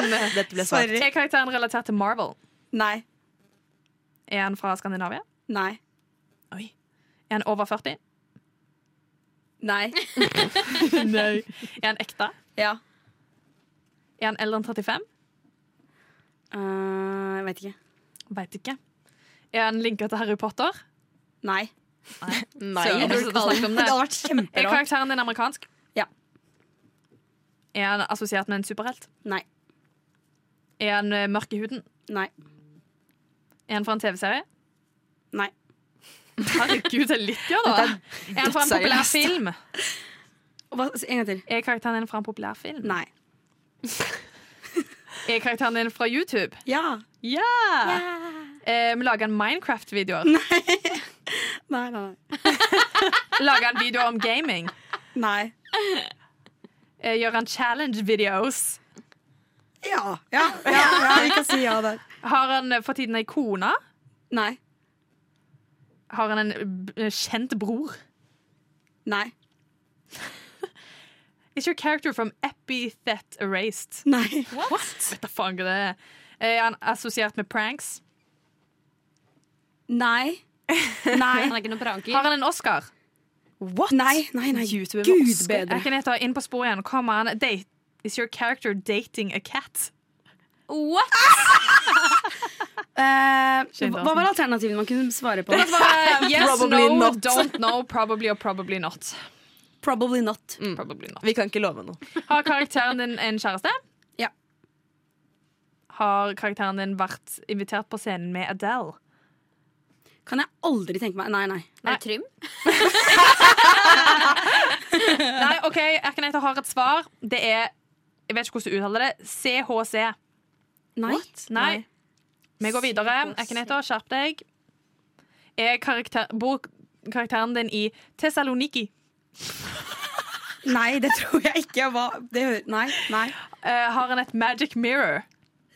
Speaker 5: dette ble svart.
Speaker 4: Er karakteren relatert til Marvel?
Speaker 3: Nei.
Speaker 4: Er han fra Skandinavia?
Speaker 3: Nei.
Speaker 4: Er han over 40?
Speaker 3: Nei.
Speaker 4: Nei. Er han ekte?
Speaker 3: Ja.
Speaker 4: Er han eldre enn 35?
Speaker 3: Eh, jeg vet ikke.
Speaker 4: Veit ikke. Er han linka til Harry Potter?
Speaker 3: Nei.
Speaker 5: Nei.
Speaker 4: Søren, jeg burde snakket om det.
Speaker 5: hadde vært
Speaker 4: Er
Speaker 5: kjemperart.
Speaker 4: karakteren din amerikansk?
Speaker 3: Ja.
Speaker 4: Er han assosiert med en superhelt?
Speaker 3: Nei.
Speaker 4: Er han eh, mørk i huden?
Speaker 3: Nei.
Speaker 4: Er han fra en TV-serie?
Speaker 3: Nei.
Speaker 4: Herregud, det er litt gøy, da. Er han fra en populær
Speaker 5: dødsseriøst.
Speaker 4: film?
Speaker 3: Og Hva, en gang til.
Speaker 4: Er karakteren din fra en populær film?
Speaker 3: Nei.
Speaker 4: Er karakteren din fra YouTube?
Speaker 3: Ja.
Speaker 4: Ja! Eh, vi lager en Minecraft-videoer.
Speaker 3: Nei, nei,
Speaker 4: Lager han videoer om gaming.
Speaker 3: nei. nei.
Speaker 4: Eh, gjør han challenge-videos.
Speaker 3: Ja. Ja, ja, ja, vi kan si ja der.
Speaker 4: Har han eh, for tiden ei kone?
Speaker 3: Nei.
Speaker 4: Har han en eh, kjent bror?
Speaker 3: Nei.
Speaker 4: Is your character from Epithet Erased?
Speaker 3: Nei.
Speaker 4: Vet da faen hva det er. Er han assosiert med pranks?
Speaker 3: Nei. Nei.
Speaker 6: Han er ikke noen
Speaker 4: Har
Speaker 6: pranker.
Speaker 4: han en Oscar?
Speaker 5: What?
Speaker 3: Nei, nei, nei.
Speaker 5: YouTube
Speaker 3: Gud
Speaker 5: Oscar.
Speaker 3: bedre.
Speaker 4: Jeg kan hete inn på sporet igjen. Kommer han date? Is your character dating a cat?
Speaker 6: What?
Speaker 3: Eh,
Speaker 4: Skjønt,
Speaker 3: hva var alternativene man kunne svare på?
Speaker 4: Yes,
Speaker 5: Probably
Speaker 4: no,
Speaker 5: not.
Speaker 4: don't know, probably or probably not.
Speaker 3: Probably not.
Speaker 4: Probably not.
Speaker 5: Vi kan ikke love noe.
Speaker 4: Mm. Har karakteren din en kjæreste?
Speaker 3: Ja.
Speaker 4: Har karakteren din vært invitert på scenen med Adele?
Speaker 3: Kan jeg aldri tenke meg Nei, nei.
Speaker 6: Er det Trym?
Speaker 4: Nei, OK, Erkenheter har et svar. Det er Jeg vet ikke hvordan du uttaler det. CHC.
Speaker 3: Nei.
Speaker 4: Nei. Vi går videre. Erkenheter, skjerp deg. Er karakter, bor karakteren din i Tessaloniki?
Speaker 3: Nei, det tror jeg ikke. Hva? Det hører Nei. Nei.
Speaker 4: Eh, har han et magic mirror?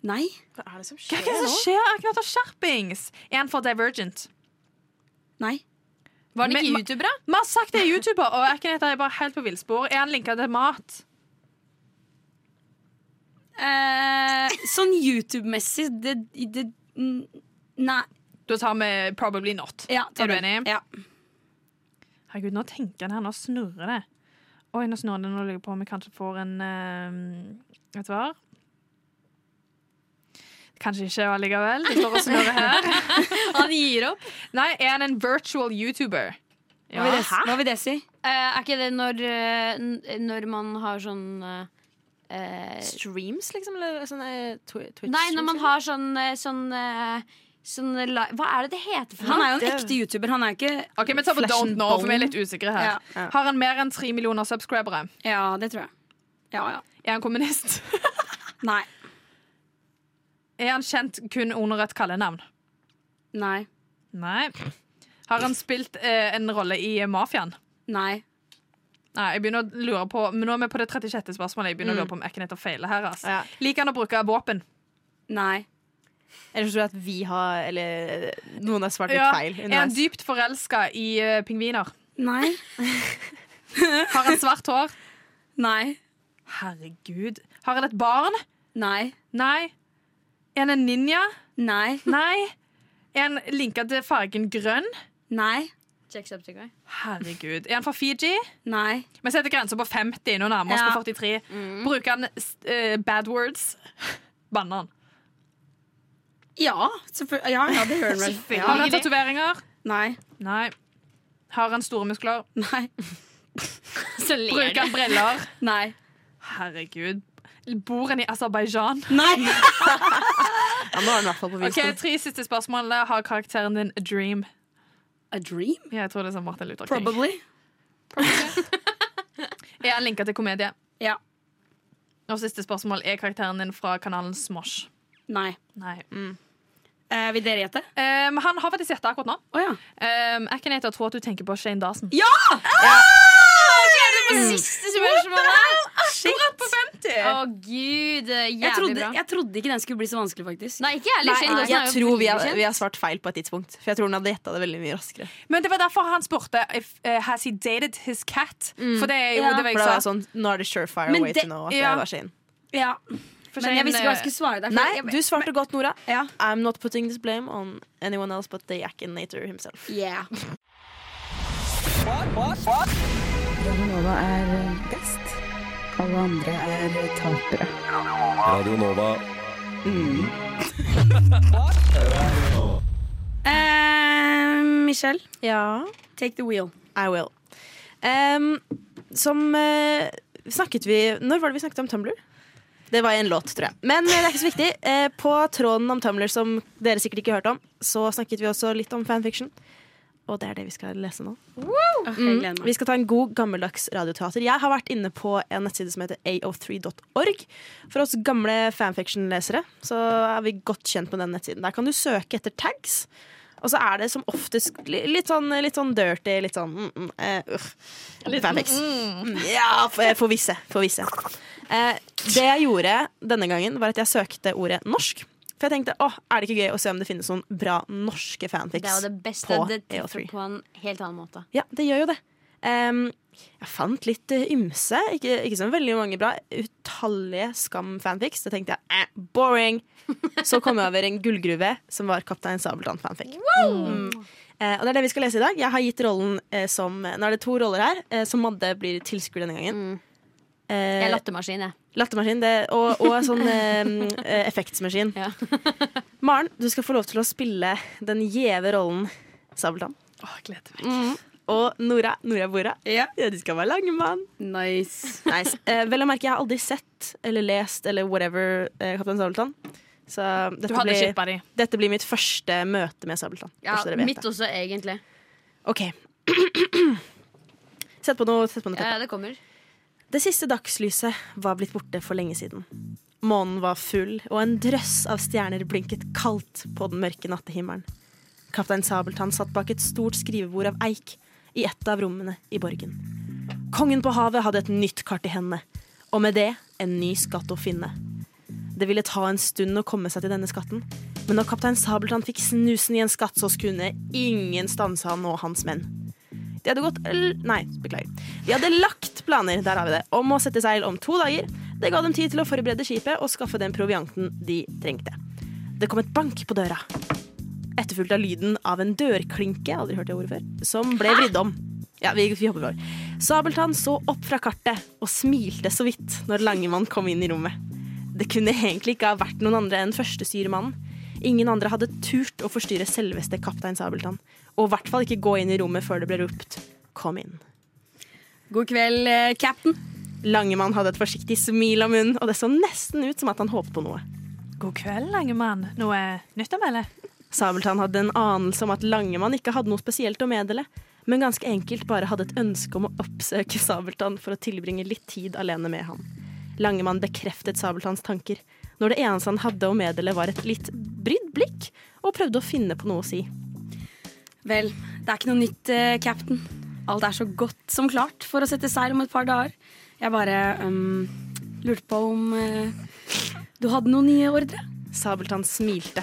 Speaker 3: Nei.
Speaker 5: Hva er det som
Speaker 4: Hva er det
Speaker 5: skjer
Speaker 4: som
Speaker 5: nå?
Speaker 4: skjer? Erkenheter, skjerpings! Er han for divergent?
Speaker 3: Nei.
Speaker 6: Var det
Speaker 4: Men-
Speaker 6: ikke YouTuber, da?
Speaker 4: Vi har sagt det er YouTuber, og Erkenheter er bare helt på villspor. Er han linka til mat?
Speaker 3: Eh, sånn YouTube-messig det, det mm, Nei.
Speaker 4: Da tar vi probably not.
Speaker 3: Ja,
Speaker 4: Er
Speaker 3: tar
Speaker 4: du
Speaker 3: den.
Speaker 4: enig?
Speaker 3: Ja.
Speaker 4: Herregud, nå tenker han her, nå snurrer det. Oi, nå snurrer det, nå lurer jeg på om vi kanskje får en eh, et svar. Kanskje ikke allikevel. Det står og snurrer her.
Speaker 6: Han gir opp.
Speaker 4: Nei, er han en virtual YouTuber?
Speaker 3: Hva, vil det, hva vil det si?
Speaker 6: Eh, er ikke det når, eh, n- når man har sånn eh, eh,
Speaker 5: Streams, liksom? Eller sånn eh, twi Twitch?
Speaker 6: Nei, når
Speaker 4: liksom?
Speaker 6: man har sånn, eh, sånn, eh, sånn li- Hva er det det heter for
Speaker 3: Han
Speaker 6: noe?
Speaker 3: er jo en ekte YouTuber. Han er ikke
Speaker 4: OK, vi tar på
Speaker 5: Flash
Speaker 4: don't
Speaker 5: and
Speaker 4: know, for vi er
Speaker 5: bone.
Speaker 4: litt usikre her.
Speaker 3: Ja.
Speaker 5: Ja.
Speaker 4: Har han mer enn tre millioner subscribere?
Speaker 3: Ja, det tror jeg. Ja, ja.
Speaker 4: Er han kommunist?
Speaker 3: Nei.
Speaker 4: er han kjent kun under et kallenavn?
Speaker 3: Nei.
Speaker 4: Nei. Har han spilt eh, en rolle i eh, Mafiaen?
Speaker 3: Nei.
Speaker 4: Nei, jeg begynner å lure på Men nå er vi på det 36. spørsmålet. Jeg begynner å lure på om Ekenetter feiler her. Altså.
Speaker 5: Mm. Ja.
Speaker 4: Liker han å bruke våpen?
Speaker 3: Nei.
Speaker 5: Eller så tror jeg at vi har Eller eh, noen har svart litt feil.
Speaker 4: Er han
Speaker 5: underveis.
Speaker 4: dypt forelska i eh, pingviner?
Speaker 3: Nei.
Speaker 4: Har han svart hår?
Speaker 3: Nei.
Speaker 4: Herregud. Har han et barn?
Speaker 3: Nei.
Speaker 4: Nei. Er han en ninja?
Speaker 3: Nei.
Speaker 4: Nei. Er han linka til fargen grønn?
Speaker 3: Nei.
Speaker 6: Jacksepticeye.
Speaker 4: Herregud. Er han fra Fiji?
Speaker 3: Nei.
Speaker 4: Vi setter grensa på 50, nå nærmer vi oss
Speaker 3: Ja.
Speaker 4: på 43. Bruker han eh, bad words? Banner han.
Speaker 3: Ja, selvfølgelig. Ja, ja, det gjør han vel.
Speaker 4: Har han tatoveringer?
Speaker 3: Nei.
Speaker 4: Nei. Har han store muskler?
Speaker 3: Nei.
Speaker 6: Så ler
Speaker 4: Bruker
Speaker 6: du.
Speaker 4: han briller?
Speaker 3: Nei.
Speaker 4: Herregud. Bor han i Aserbajdsjan?
Speaker 3: Nei.
Speaker 5: Ja, nå er den i hvert fall på
Speaker 4: Ok,
Speaker 5: visen.
Speaker 4: tre siste spørsmål. Har karakteren din a dream?
Speaker 3: A dream?
Speaker 4: Ja, Jeg tror det er som Martin Luther King.
Speaker 3: Probably.
Speaker 4: Er han linka til komedie?
Speaker 3: Ja.
Speaker 4: Og siste spørsmål. Er karakteren din fra kanalen Smosh?
Speaker 3: Nei.
Speaker 4: Nei.
Speaker 3: Eh, vil dere gjette?
Speaker 4: Um, han har faktisk gjetta akkurat nå.
Speaker 3: Å ja.
Speaker 4: Um, Akinator tror at du tenker på Shane Darsen.
Speaker 3: Ja! Ah! Mm.
Speaker 6: Siste spørsmål her!
Speaker 4: Akkurat på 50!
Speaker 6: Å, gud. Jævlig
Speaker 3: Jeg trodde,
Speaker 6: bra.
Speaker 3: jeg trodde ikke den skulle bli så vanskelig, faktisk.
Speaker 6: Nei, ikke jeg heller. Shane
Speaker 5: Nei,
Speaker 6: Dawson er
Speaker 5: jeg
Speaker 6: jo
Speaker 5: tror vi har,
Speaker 6: veldig kjent.
Speaker 5: vi har svart feil på et tidspunkt. For jeg tror hun hadde gjetta det veldig mye raskere.
Speaker 4: Men det var derfor han spurte if, eh, Has he dated his cat. For det er jo
Speaker 3: Ja.
Speaker 4: det var
Speaker 5: For
Speaker 4: jeg
Speaker 5: da var jeg
Speaker 4: sa.
Speaker 5: sånn, Nå er det surefire
Speaker 3: Men
Speaker 5: way
Speaker 3: det-
Speaker 5: to know at
Speaker 4: ja.
Speaker 5: det var Shane.
Speaker 3: Ja.
Speaker 4: For
Speaker 3: Men jeg visste ikke
Speaker 4: Shane,
Speaker 3: hva jeg
Speaker 4: eh,
Speaker 3: skulle svare der. for
Speaker 5: Nei,
Speaker 3: jeg,
Speaker 5: du svarte godt, Nora. I'm not putting this blame on anyone else but the Yackinator himself.
Speaker 6: Yeah.
Speaker 9: Radionova er eh, best. Alle andre er eh, tapere.
Speaker 8: Radio Nova.
Speaker 3: Eh, Michelle,
Speaker 5: Ja,
Speaker 3: take the wheel.
Speaker 5: I will. Em, som eh, snakket vi Når var det vi snakket om Tumblr? Det var i en låt, tror jeg. Men eh, det er ikke så viktig. Eh, på tråden om Tumblr, som dere sikkert ikke hørte om, så snakket vi også litt om fanfiction. Og det er det vi skal lese nå.
Speaker 3: Åh, jeg gleder meg.
Speaker 5: Eh, Vi skal ta en god gammeldags radioteater. Jeg har vært inne på en nettside som heter ao3.org. For oss gamle fanfiction-lesere så er vi godt kjent med den nettsiden. Der kan du søke etter tags. Og så er det som oftest li- litt sånn, litt sånn dirty, litt sånn mm, mm, eh, uff. Fanfics. Mm, Ja, for, for visse. For visse. Eh, det jeg gjorde denne gangen, var at jeg søkte ordet norsk. For jeg tenkte, åh, er det ikke gøy å se om det finnes noen bra norske fanfics
Speaker 6: Det er jo det beste.
Speaker 5: på
Speaker 6: Det treffer
Speaker 5: AO3?
Speaker 6: på E en helt annen måte.
Speaker 5: Ja, det gjør jo det. Ehm, jeg fant litt eh, ymse. Ikke, ikke så veldig mange bra. Utallige Skam-fanfics. Da tenkte jeg eh, boring. Så kom jeg over en gullgruve som var Kaptein Sabeltann-fanfic. Mm. Eh, og det er det vi skal lese i dag. Jeg har gitt rollen eh, som Nå er det to roller her, eh, som Madde blir tilskuer denne gangen.
Speaker 6: Jeg er
Speaker 5: Eh,
Speaker 6: lattermaskin, jeg.
Speaker 5: Lattermaskin det, og, og sånn eh, eh, effektsmaskin.
Speaker 6: Ja.
Speaker 5: Maren, du skal få lov til å spille den gjeve rollen Sabeltann. Mhm.
Speaker 3: Åh, jeg gleder meg.
Speaker 5: Og Nora, Nora Bora.
Speaker 3: Ja.
Speaker 5: Ja, du skal være langemann.
Speaker 3: Nice.
Speaker 5: Nice. Eh, vel å merke, jeg har aldri sett eller lest eller whatever eh, Kaptein Sabeltann. Så
Speaker 4: Du
Speaker 5: dette
Speaker 4: hadde
Speaker 5: blir,
Speaker 4: shippa de.
Speaker 5: dette blir mitt første møte med Sabeltann.
Speaker 6: Ja,
Speaker 5: bare så dere vet
Speaker 6: mitt
Speaker 5: det.
Speaker 6: også, egentlig.
Speaker 5: Ok. Sett på noe, sett på noe teppe.
Speaker 6: Ja, Eh, det kommer.
Speaker 5: Det siste dagslyset var blitt borte for lenge siden. Månen var full, og en drøss av stjerner blinket kaldt på den mørke nattehimmelen. Kaptein Sabeltann satt bak et stort skrivebord av eik i et av rommene i borgen. Kongen på havet hadde et nytt kart i hendene, og med det en ny skatt å finne. Det ville ta en stund å komme seg til denne skatten, men når kaptein Sabeltann fikk snusen i en skatt, så kunne ingen stanse han og hans menn. De hadde gått l- Nei, beklager. De hadde lagt planer der har vi det, om å sette seil om to dager. Det ga dem tid til å forberede skipet og skaffe den provianten de trengte. Det kom et bank på døra, etterfulgt av lyden av en dørklinke aldri hørt det ordet før, som ble vridd om. Ja, vi, vi hopper over. Sabeltann så opp fra kartet og smilte så vidt når Langemann kom inn i rommet. Det kunne egentlig ikke ha vært noen andre enn førstestyremannen. Ingen andre hadde turt å forstyrre selveste kaptein Sabeltann. Og i hvert fall ikke gå inn i rommet før det ble ropt 'kom inn'.
Speaker 3: God kveld, eh, cap'n.
Speaker 5: Langemann hadde et forsiktig smil om munnen, og det så nesten ut som at han håpet på noe.
Speaker 4: God kveld, lange mann. Noe nytt å melde?
Speaker 5: Sabeltann hadde en anelse om at Langemann ikke hadde noe spesielt å meddele, men ganske enkelt bare hadde et ønske om å oppsøke Sabeltann for å tilbringe litt tid alene med ham. Langemann bekreftet Sabeltanns tanker, når det eneste han hadde å meddele var et litt brydd blikk, og prøvde å finne på noe å si.
Speaker 3: Vel, det er ikke noe nytt, eh, cap'n. Alt er så godt som klart for å sette seil om et par dager. Jeg bare um, lurte på om eh, du hadde noen nye ordre?
Speaker 5: Sabeltann smilte.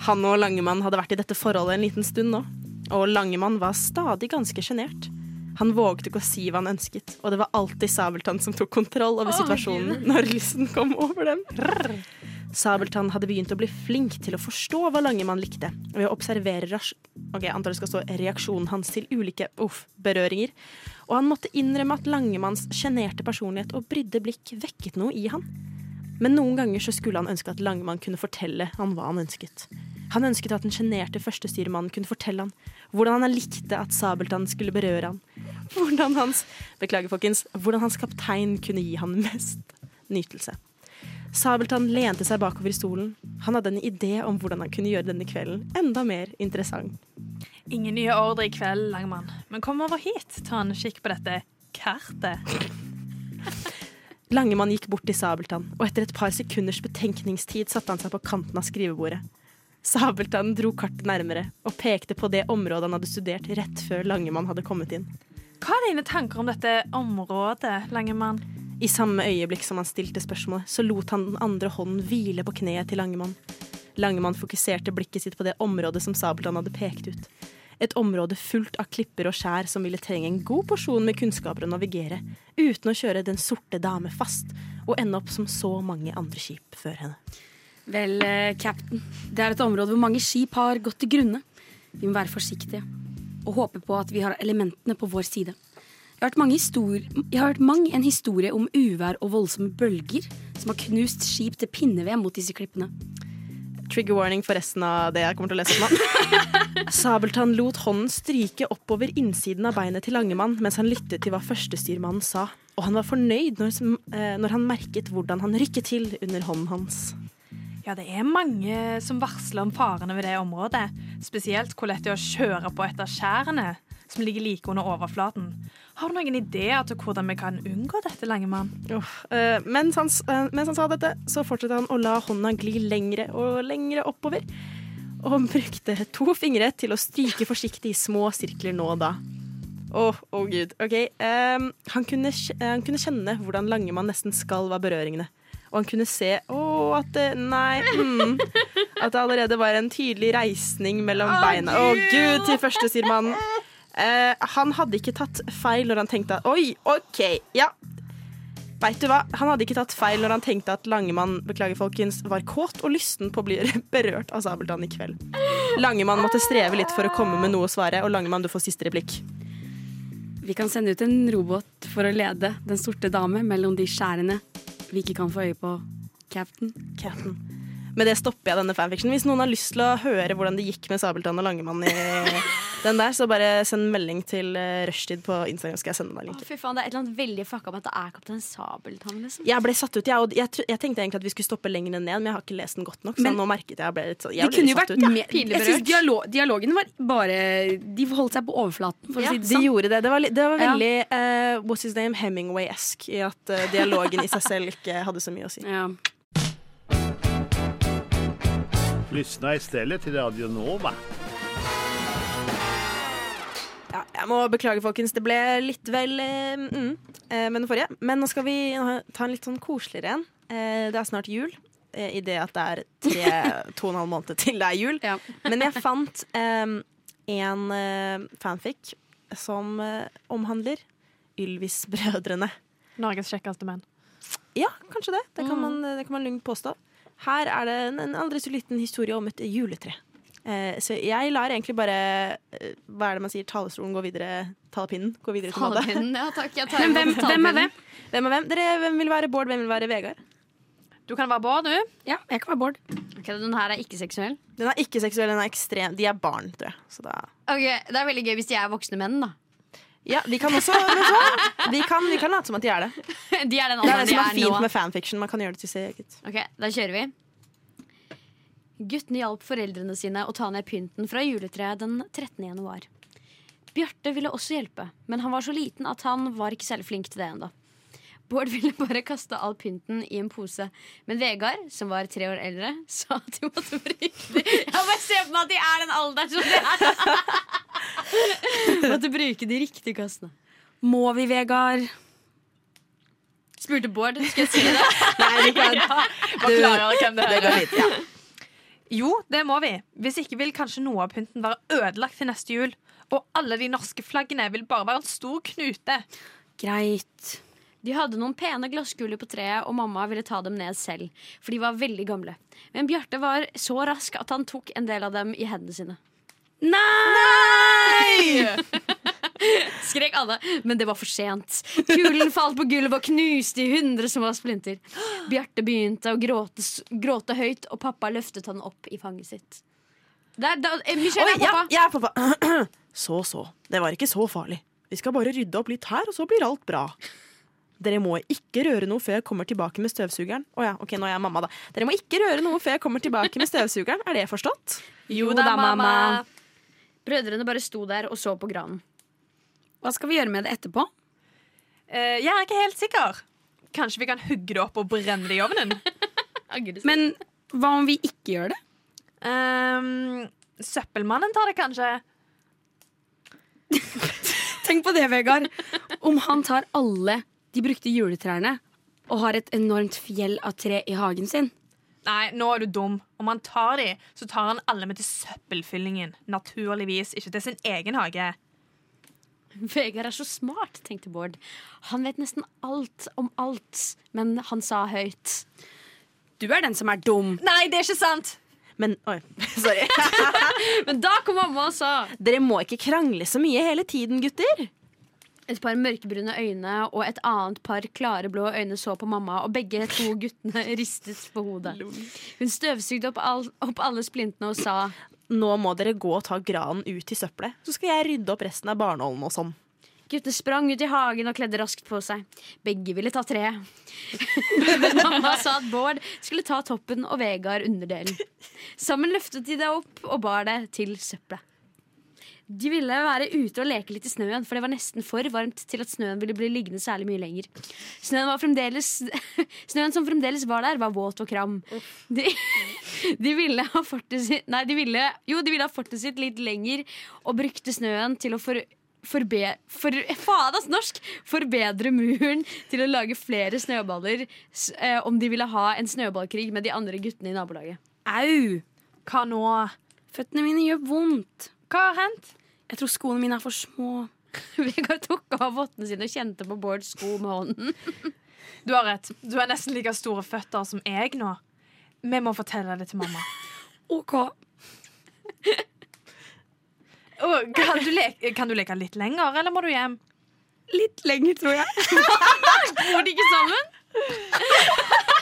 Speaker 5: Han og Langemann hadde vært i dette forholdet en liten stund nå, og Langemann var stadig ganske sjenert. Han vågde ikke å si hva han ønsket, og det var alltid Sabeltann som tok kontroll over situasjonen når lysten kom over dem. Sabeltann hadde begynt å bli flink til å forstå hva Langemann likte, ved å observere ras Ok, jeg antar det skal stå reaksjonen hans til ulike uff, berøringer, og han måtte innrømme at Langemanns sjenerte personlighet og brydde blikk vekket noe i han. Men noen ganger så skulle han ønske at Langemann kunne fortelle han hva han ønsket. Han ønsket at den sjenerte førstestyremannen kunne fortelle han hvordan han likte at Sabeltann skulle berøre han. Hvordan hans Beklager, folkens. Hvordan hans kaptein kunne gi han mest nytelse. Sabeltann lente seg bakover i stolen. Han hadde en idé om hvordan han kunne gjøre denne kvelden enda mer interessant.
Speaker 4: Ingen nye ordre i kveld, lange mann. Men kom over hit, ta en kikk på dette kartet.
Speaker 5: Langemann gikk bort til Sabeltann, og etter et par sekunders betenkningstid satte han seg på kanten av skrivebordet. Sabeltann dro kartet nærmere og pekte på det området han hadde studert rett før Langemann hadde kommet inn.
Speaker 4: Hva er dine tanker om dette området, lange mann?
Speaker 5: I samme øyeblikk som han stilte spørsmålet, så lot han den andre hånden hvile på kneet til Langemann. Langemann fokuserte blikket sitt på det området som Sabeltann hadde pekt ut. Et område fullt av klipper og skjær som ville trenge en god porsjon med kunnskaper å navigere, uten å kjøre Den sorte dame fast og ende opp som så mange andre skip før henne.
Speaker 3: Vel, eh, cap'n, det er et område hvor mange skip har gått til grunne. Vi må være forsiktige og håpe på at vi har elementene på vår side. Jeg har hørt, mange histori- jeg har hørt mang en historie om uvær og voldsomme bølger som har knust skip til pinneved mot disse klippene.
Speaker 5: Trigger warning for resten av det jeg kommer til å lese om han. Sabeltann lot hånden stryke oppover innsiden av beinet til Langemann mens han lyttet til hva førstestyrmannen sa, og han var fornøyd når, som- eh, når han merket hvordan han rykket til under hånden hans.
Speaker 4: Ja, det er mange som varsler om farene ved det området. Spesielt hvor lett det er å kjøre på etter skjærene som ligger like under overflaten. Har du noen ideer til hvordan vi kan unngå dette, Langemann?
Speaker 5: Uff. Eh, mens, han, s- eh, mens han sa dette, så fortsatte han å la hånda gli lengre og lengre oppover, og han brukte to fingre til å stryke forsiktig i små sirkler nå og da. Å, å gud. OK. Ehm, han, kunne, kj- eh, han kunne kjenne hvordan Langemann nesten skalv av berøringene. Og han kunne se å, at det Nei. Mm, at det allerede var en tydelig reisning mellom beina. Å, gud, til første, sier mannen. Eh, han hadde ikke tatt feil når han tenkte at Oi, OK, ja, Vet du hva? Han hadde ikke tatt feil når han tenkte at Langemann beklager folkens, var kåt og lysten på å bli berørt av Sabeltann i kveld. Langemann måtte streve litt for å komme med noe å svare, og Langemann, du får siste replikk.
Speaker 3: Vi kan sende ut en robot for å lede Den sorte dame mellom de skjærene vi ikke kan få øye på. Captain.
Speaker 5: Captain. Med det stopper jeg denne fanfictionen. Hvis noen har lyst til å høre hvordan det gikk med Sabeltann og Langemann i den der, så bare send melding til eh, Rushtid på Instagram, skal jeg sende deg linken.
Speaker 6: Fy faen, Det er et eller annet veldig fucka med at det er Kaptein Sabeltann. liksom
Speaker 5: Jeg ble satt ut, jeg, og jeg, tro- jeg tenkte egentlig at vi skulle stoppe lenger ned, men jeg har ikke lest den godt nok, så
Speaker 3: Men-
Speaker 5: nå merket jeg jeg ble litt, så,
Speaker 3: Det
Speaker 5: jeg ble
Speaker 3: kunne
Speaker 5: litt
Speaker 3: jo
Speaker 5: satt
Speaker 3: vært
Speaker 5: ut. ja.
Speaker 3: mer Jeg synes dialo- dialogen var bare De holdt seg på overflaten, for å si det
Speaker 5: De
Speaker 3: sånn.
Speaker 5: gjorde det. Det var, li- det var
Speaker 3: Ja.
Speaker 5: veldig eh, what's his name, Hemingway-esk i at eh, dialogen i seg selv ikke hadde så mye å si.
Speaker 3: Ja.
Speaker 11: Lyssna istället till Radio Nova.
Speaker 5: Ja, jeg må beklage, folkens. Det ble litt vel eh, mm, eh, med den forrige. Men nå skal vi eh, ta en litt sånn koseligere en. Eh, det er snart jul. eh, I det at det er tre, to og en halv måned til det er jul. Men jeg fant eh, en eh, fanfic som eh, omhandler Ylvis-brødrene.
Speaker 4: Norges kjekkeste menn.
Speaker 5: Ja, kanskje det. Det kan man, det kan man lugnt påstå. Her er det en, en aldri så liten historie om et juletre. Eh, så jeg lar egentlig bare eh, Hva er det man sier? Talestolen går videre. Talepinnen går videre til Madde.
Speaker 6: Talepinnen, ja takk. Jeg tar
Speaker 3: Men hvem,
Speaker 6: imot
Speaker 3: hvem er
Speaker 6: talepinnen.
Speaker 3: hvem?
Speaker 5: Hvem er hvem? Dere, hvem vil være Bård, hvem vil være Vegard?
Speaker 4: Du kan være Bård, du.
Speaker 3: Ja, jeg kan være Bård.
Speaker 6: Ok, Den her er ikke seksuell.
Speaker 5: Den er ikke seksuell, den er ekstrem. De er barn, tror jeg. Så da
Speaker 6: Ok, Det er veldig gøy hvis de er voksne menn, da.
Speaker 5: ja, vi kan også vet du hva? Vi kan, vi kan late som at de er det.
Speaker 6: De er den
Speaker 5: Det er
Speaker 6: alderen
Speaker 5: det
Speaker 6: de
Speaker 5: som er
Speaker 6: er nå.
Speaker 5: fint med fanfiction. Man kan gjøre det til seg eget.
Speaker 6: Ok, Da kjører vi. Guttene hjalp foreldrene sine å ta ned pynten fra juletreet den 13. januar. Bjarte ville også hjelpe, men han var så liten at han var ikke særlig flink til det ennå. Bård ville bare kaste all pynten i en pose, men Vegard, som var tre år eldre, sa at de måtte være riktig. Jeg bare ser på meg at de er den alderen som de er! måtte bruke de riktige kassene.
Speaker 3: Må vi, Vegard?
Speaker 6: Spurte Bård. Skal jeg si det?
Speaker 4: Bare klargjøre hvem det
Speaker 5: Det
Speaker 4: er.
Speaker 5: går fint. Ja.
Speaker 4: Jo, det må vi. Hvis ikke vil kanskje noe av pynten være ødelagt til neste jul. Og alle de norske flaggene vil bare være en stor knute.
Speaker 3: Greit.
Speaker 6: De hadde noen pene glasskuler på treet, og mamma ville ta dem ned selv, for de var veldig gamle. Men Bjarte var så rask at han tok en del av dem i hendene sine.
Speaker 3: Nei!
Speaker 6: Skrek alle, men det var for sent. Kulen falt på gulvet og knuste i hundre som var splinter. Bjarte begynte å gråte, s- gråte høyt, og pappa løftet han opp i fanget sitt. Der, da, eh, Michelle
Speaker 5: Oi,
Speaker 6: er
Speaker 5: ja,
Speaker 6: pappa.
Speaker 5: jeg er pappa. Så, så. Det var ikke så farlig. Vi skal bare rydde opp litt her, og så blir alt bra. Dere må ikke røre noe før jeg kommer tilbake med støvsugeren. Å ja, ok, nå er jeg mamma, da. Dere må ikke røre noe før jeg kommer tilbake med støvsugeren. Er det forstått?
Speaker 3: Jo da, mamma.
Speaker 6: Brødrene bare sto der og så på granen.
Speaker 3: Hva skal vi gjøre med det etterpå?
Speaker 4: Eh, jeg er ikke helt sikker. Kanskje vi kan hugge det opp og brenne det i ovnen?
Speaker 3: Men hva om vi ikke gjør det?
Speaker 4: Ehm, søppelmannen tar det kanskje.
Speaker 3: Tenk på det, Vegard. Om han tar alle de brukte juletrærne og har et enormt fjell av tre i hagen sin.
Speaker 4: Nei, nå er du dum. Om han tar de, så tar han alle med til søppelfyllingen. Naturligvis ikke til sin egen hage.
Speaker 6: Vegard er så smart, tenkte Bård. Han vet nesten alt om alt, men han sa høyt.
Speaker 3: Du er den som er dum.
Speaker 6: Nei, det er ikke sant!
Speaker 5: Men oi, sorry.
Speaker 6: Men da kom mamma og sa
Speaker 5: Dere må ikke krangle så mye hele tiden, gutter.
Speaker 6: Et par mørkebrune øyne og et annet par klare blå øyne så på mamma, og begge to guttene ristet på hodet. Hun støvsugde opp, all, opp alle splintene og sa
Speaker 5: Nå må dere gå og ta granen ut i søppelet, så skal jeg rydde opp resten av barnålen og sånn.
Speaker 6: Guttene sprang ut i hagen og kledde raskt på seg. Begge ville ta treet. Men mamma sa at Bård skulle ta toppen og Vegard underdelen. Sammen løftet de det opp og bar det til søpla. De ville være ute og leke litt i snøen, for det var nesten for varmt til at snøen ville bli liggende særlig mye lenger. Snøen, var fremdeles, snøen som fremdeles var der, var våt og kram. De, de ville ha fortet sitt Nei, de ville, jo, de ville ha fortet sitt litt lenger og brukte snøen til å for, forbe, for, faen, ass, norsk, forbedre muren til å lage flere snøballer s- eh, om de ville ha en snøballkrig med de andre guttene i nabolaget.
Speaker 3: Au!
Speaker 4: Hva nå?
Speaker 3: Føttene mine gjør vondt.
Speaker 4: Hva har hendt?
Speaker 3: Jeg tror skoene mine er for små.
Speaker 6: Vegard tok av vottene sine og kjente på Bårds sko med hånden.
Speaker 4: Du har rett. Du har nesten like store føtter som jeg nå. Vi må fortelle det til mamma.
Speaker 3: OK.
Speaker 4: Å, kan, du leke, kan du leke litt lenger, eller må du hjem?
Speaker 3: Litt lenger, tror jeg.
Speaker 6: Bor de ikke sammen?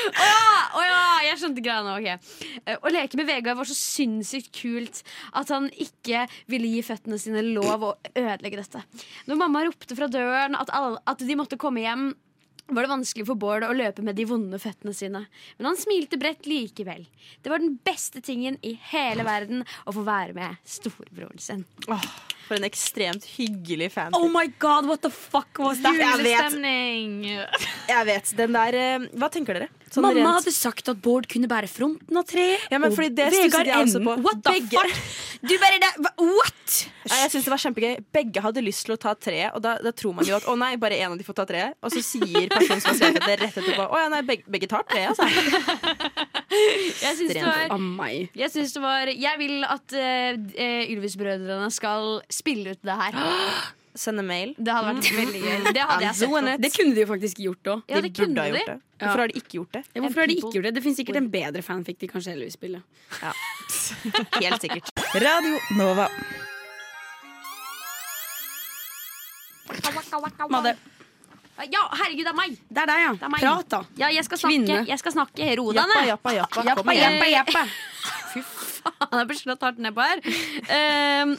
Speaker 6: Å ja, å ja, jeg skjønte greia nå. ok. Eh, Å leke med Vegard var så sinnssykt kult at han ikke ville gi føttene sine lov å ødelegge dette. Når mamma ropte fra døren at, alle, at de måtte komme hjem, var det vanskelig for Bård å løpe med de vonde føttene sine. Men han smilte bredt likevel. Det var den beste tingen i hele verden å få være med storebroren sin.
Speaker 5: For en ekstremt hyggelig fan.
Speaker 3: Oh my god, what the fuck was that?
Speaker 5: jeg, vet,
Speaker 4: Julestemning.
Speaker 5: jeg vet. Den der eh, Hva tenker dere? Sånn
Speaker 3: Mamma
Speaker 5: rent-
Speaker 3: hadde sagt at Bård kunne bære fronten av treet.
Speaker 5: Ja, men
Speaker 3: og
Speaker 5: fordi det stusset
Speaker 3: Vegard
Speaker 5: jeg også
Speaker 3: enden.
Speaker 5: på.
Speaker 3: What the
Speaker 5: Begge.
Speaker 3: fuck? Du bare det- hva- What?
Speaker 5: Nei, jeg synes det var kjempegøy Begge hadde lyst til å ta treet, og da, da tror man jo at å nei, bare en av de får ta treet. Og så sier personen som har skrevet det, rett etterpå å ja, nei, begge, begge tar treet. Altså.
Speaker 6: Jeg synes det var
Speaker 3: Av meg.
Speaker 6: Jeg synes det var Jeg vil at uh, Ylvis-brødrene skal spille ut det her.
Speaker 5: Sende mail.
Speaker 6: Det hadde vært veldig gøy. Det hadde jeg sett. på.
Speaker 3: Det kunne de jo faktisk gjort òg.
Speaker 6: Ja, det
Speaker 5: de
Speaker 6: kunne
Speaker 5: burde ha
Speaker 6: de.
Speaker 5: gjort det. Hvorfor har de ikke gjort det?
Speaker 3: Ja, hvorfor har de ikke gjort det? Det finnes sikkert
Speaker 6: Oi.
Speaker 3: en bedre fanfic de kanskje heller vil spille.
Speaker 5: Helt sikkert.
Speaker 9: Radio Nova.
Speaker 3: Madde,
Speaker 6: Ja, herregud, det er meg!
Speaker 3: det er deg, ja.
Speaker 6: Det er meg.
Speaker 3: Prat, da.
Speaker 6: Ja, jeg skal snakke.
Speaker 3: Kvinne.
Speaker 6: Jeg skal snakke. Ro deg
Speaker 5: Jappa,
Speaker 6: ned.
Speaker 5: jappa, jappa.
Speaker 6: Jappa,
Speaker 5: Kom igjen.
Speaker 6: jappa. Fy faen, jeg blir slått hardt ned på her. Ehm,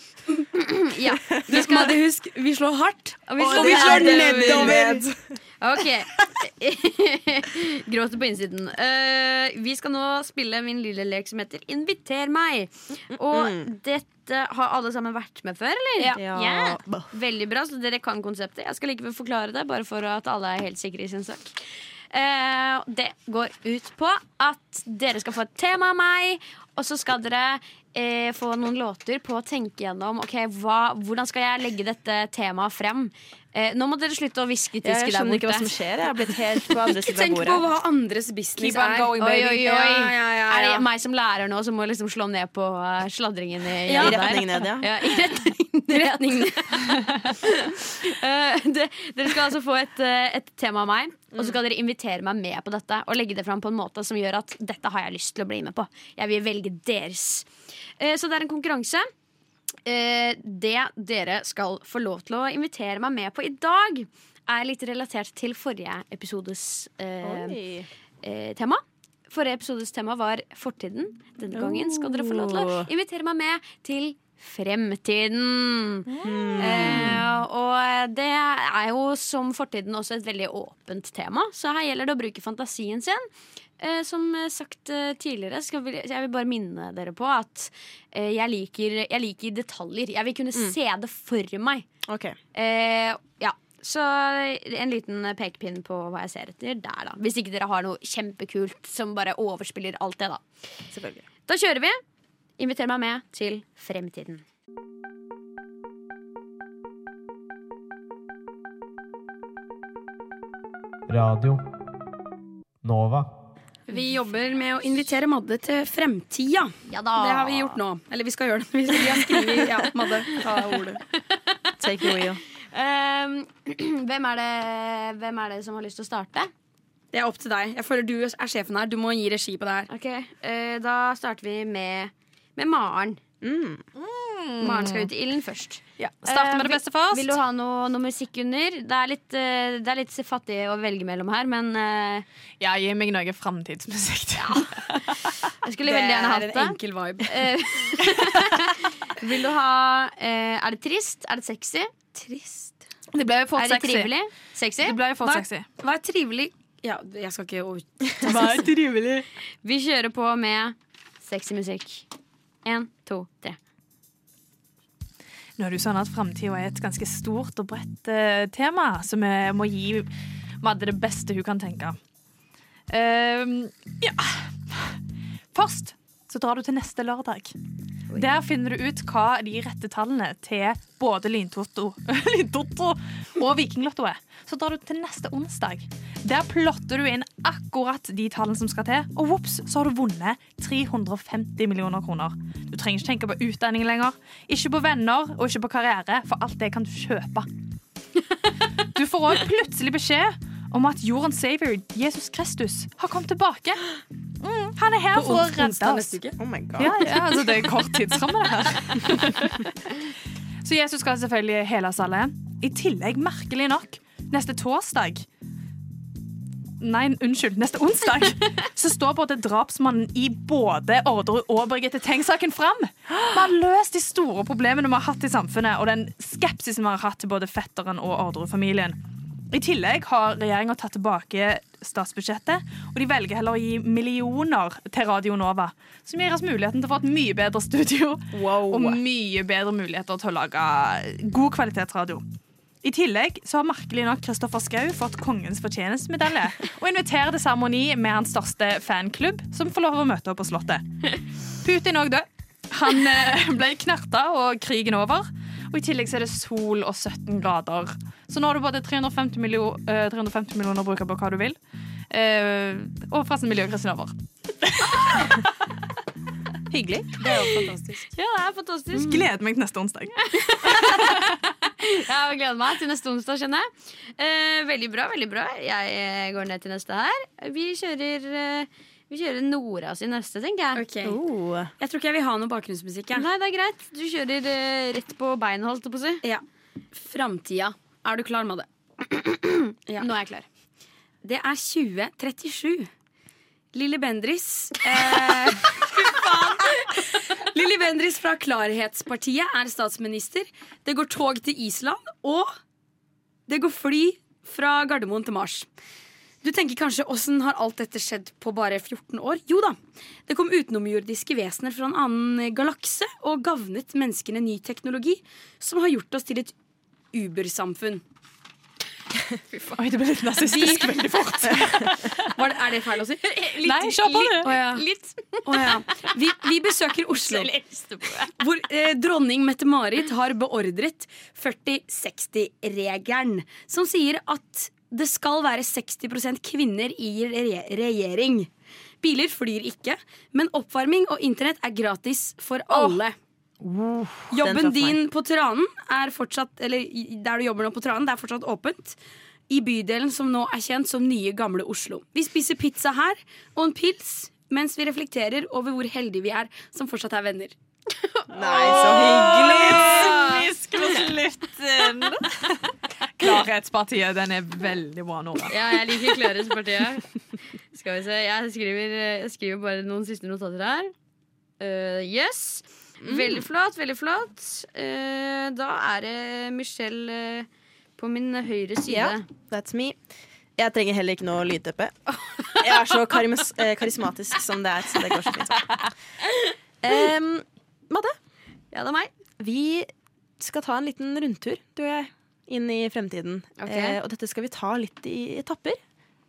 Speaker 6: ja.
Speaker 3: Du, Madde, husk, vi slår hardt.
Speaker 6: Og vi
Speaker 3: Og vi slår nedover.
Speaker 6: Ok. Gråter på innsiden. Eh, vi skal nå spille min lille lek som heter Inviter meg. Og dette har alle sammen vært med før, eller?
Speaker 5: Ja. Bah.
Speaker 6: Veldig bra, så dere kan konseptet. Jeg skal likevel forklare det, bare for at alle er helt sikre i sin sak. Eh, det går ut på at dere skal få et tema av meg, og så skal dere eh, få noen låter på å tenke gjennom ok, hva, hvordan skal jeg legge dette temaet frem. Eh, nå må dere slutte å hviske
Speaker 5: Jeg
Speaker 6: tiske der
Speaker 5: skjønner ikke hva
Speaker 6: borte.
Speaker 5: som skjer. Jeg har blitt helt på andre
Speaker 3: Ikke
Speaker 5: siden av
Speaker 3: tenk på
Speaker 5: bordet.
Speaker 3: hva andres business
Speaker 4: Keep on
Speaker 3: er.
Speaker 4: going,
Speaker 6: Oi,
Speaker 4: baby.
Speaker 6: oi, oi.
Speaker 3: Ja, ja, ja,
Speaker 6: Er
Speaker 3: ja.
Speaker 6: det meg som lærer nå, som må liksom slå ned på eh, sladringen i
Speaker 5: I
Speaker 6: der?
Speaker 5: retning ned, ja.
Speaker 6: Ja, i retning ned. Eh, det, dere skal altså få et, eh, et tema av meg, og så skal dere invitere meg med på dette. Og legge det fram på en måte som gjør at dette har jeg lyst til å bli med på. Jeg vil velge deres. Eh, Så det er en konkurranse. Eh, Det dere skal få lov til å invitere meg med på i dag, er litt relatert til forrige episodes eh,
Speaker 5: Oi.
Speaker 6: eh, tema. Forrige episodes tema var fortiden. Denne gangen skal dere få lov til å
Speaker 5: Oh.
Speaker 6: invitere meg med til fremtiden. Eh, og det er jo som fortiden også et veldig åpent tema, så her gjelder det å bruke fantasien sin. Eh, som sagt eh, tidligere, skal vi, jeg vil bare minne dere på at eh, jeg, liker, jeg liker detaljer. Jeg vil kunne se det for meg.
Speaker 5: Ok.
Speaker 6: Eh, ja, så en liten pekepinn på hva jeg ser etter der, da. Hvis ikke dere har noe kjempekult som bare overspiller alt det, da.
Speaker 5: Selvfølgelig.
Speaker 6: Da kjører vi. Inviter meg med til fremtiden.
Speaker 12: Radio Nova.
Speaker 3: Vi jobber med å invitere Madde til fremtida.
Speaker 6: da.
Speaker 3: Det har vi gjort nå. Eller vi skal gjøre det. Vi har skrevet ja, Madde, ta ordet.
Speaker 5: Take the wheel.
Speaker 6: Ehm, hvem, er det, hvem er det som har lyst til å starte?
Speaker 3: Det er opp til deg. Jeg føler du er sjefen her. Du må gi regi på det her.
Speaker 6: Ok, eh, Da starter vi med, med Maren. Mm. Maren skal ut i ilden først.
Speaker 4: Starte med det
Speaker 6: Eh,
Speaker 4: beste først.
Speaker 6: Vil, vil du ha noe, noe musikk under? Det er litt, eh, det er litt fattig å velge mellom her, men eh,
Speaker 4: Ja, gi meg noe framtidsmusikk.
Speaker 6: Jeg skulle veldig gjerne hatt det.
Speaker 3: Det er en enkel vibe.
Speaker 6: Eh, vil du ha eh, Er det trist? Er det sexy? Trist.
Speaker 4: Det ble jo fort
Speaker 6: Er det
Speaker 4: sexy.
Speaker 6: trivelig? Sexy?
Speaker 4: Det ble jo fort
Speaker 6: Hva-
Speaker 4: sexy.
Speaker 3: Hva er trivelig Ja, jeg skal ikke over...
Speaker 6: Hva er trivelig? Vi kjører på med sexy musikk. Én, to, tre.
Speaker 4: Nå er det jo sånn at framtida er et ganske stort og bredt eh, tema, så vi må gi Madde det beste hun kan tenke. Ehm, ja Først så drar du til neste lørdag. Der finner du ut hva de rette tallene til både Lyntotto Lyntotto og Vikinglotto er. Så drar du til neste onsdag. Der plotter du inn akkurat de tallene som skal til, og vops, så har du vunnet 350 millioner kroner. Du trenger ikke tenke på utdanning lenger, ikke på venner og ikke på karriere, for alt det kan du kjøpe. Du får òg plutselig beskjed om at jordens savior, Jesus Kristus, har kommet tilbake. Mm, han er her
Speaker 3: På
Speaker 4: for å
Speaker 3: ons-
Speaker 4: redde
Speaker 3: onsdag
Speaker 4: oss.
Speaker 3: neste uke? Oh my god.
Speaker 4: Ja, ja, altså det er kort tidsramme her. Så Jesus skal selvfølgelig hele oss alle. I tillegg, merkelig nok, neste torsdag Nei, unnskyld. Neste onsdag så står både drapsmannen i både Orderud og Birgitte Tengs-saken fram. Vi har løst de store problemene vi har hatt i samfunnet, og den skepsisen vi har hatt til både fetteren og Orderud-familien. I tillegg har regjeringa tatt tilbake statsbudsjettet, og de velger heller å gi millioner til Radio Nova, som gir oss muligheten til å få et mye bedre studio og mye bedre muligheter til å lage god kvalitetsradio. I tillegg så har merkelig nok Kristoffer Schou fått Kongens fortjenstmedalje og inviterer til seremoni med hans største fanklubb, som får lov å møte opp på Slottet. Putin òg død. Han eh, ble knerta og krigen over. Og I tillegg så er det sol og 17 grader. Så nå har du både 350, millio, eh, 350 millioner brukere på hva du vil. Eh, og forresten miljøkrisen over. Hyggelig.
Speaker 3: Det er jo fantastisk.
Speaker 6: Ja, det er fantastisk.
Speaker 4: Gleder meg til neste onsdag.
Speaker 6: Jeg gleder meg til neste onsdag, kjenner jeg. Eh, veldig bra, veldig bra. Jeg eh, går ned til neste her. Vi kjører, eh, vi kjører Nora sin neste, tenker jeg.
Speaker 3: Ok.
Speaker 6: Oh.
Speaker 3: Jeg tror ikke jeg vil ha noe bakgrunnsmusikk. Jeg.
Speaker 6: Nei, det er greit. Du kjører eh, rett på beinet, holdt jeg på å si.
Speaker 3: Ja. Framtida. Er du klar, Madde? ja.
Speaker 6: Nå er jeg klar.
Speaker 3: Det er 2037. Lilly Bendris eh, Lilly Bendris fra Klarhetspartiet er statsminister. Det går tog til Island, og det går fly fra Gardermoen til Mars. Du tenker kanskje åssen har alt dette skjedd på bare 14 år? Jo da. Det kom utenomjordiske vesener fra en annen galakse og gavnet menneskene ny teknologi som har gjort oss til et Uber-samfunn.
Speaker 4: Oi, det ble litt nazistisk veldig fort.
Speaker 3: Var det- Er det feil å si?
Speaker 4: Nei, kjør på, du.
Speaker 3: Å ja.
Speaker 6: Litt.
Speaker 3: Å ja. vi, vi besøker Oslo, hvor eh, dronning Mette-Marit har beordret 40-60-regelen, som sier at det skal være 60 kvinner i re regjering. Biler flyr ikke, men oppvarming og internett er gratis for alle. Jobben
Speaker 5: traff meg.
Speaker 3: din på Tranen er fortsatt Eller i- der du jobber nå på Tranen, det er fortsatt åpent. I bydelen som nå er kjent som nye, gamle Oslo. Vi spiser pizza her og en pils mens vi reflekterer over hvor heldige vi er som fortsatt er venner.
Speaker 5: Nei, så hyggelig!
Speaker 4: eh, Klarhetspartiet, den er veldig bra, Nora.
Speaker 6: Ja, jeg liker Klarhetspartiet. Skal vi se. Jeg skriver, eh, jeg skriver bare noen siste notater her. Eh, yes. Veldig flott, veldig flott. Eh, da er det Michelle eh, på min høyre side.
Speaker 5: Ja, that's me. Jeg trenger heller ikke noe lydteppe. Jeg er så karism eh, karismatisk som det er, så det går så fint. Um, Madde,
Speaker 6: Ja, det er meg.
Speaker 5: vi skal ta en liten rundtur, du og jeg, inn i fremtiden.
Speaker 6: Ok.
Speaker 5: Eh, og dette skal vi ta litt i etapper.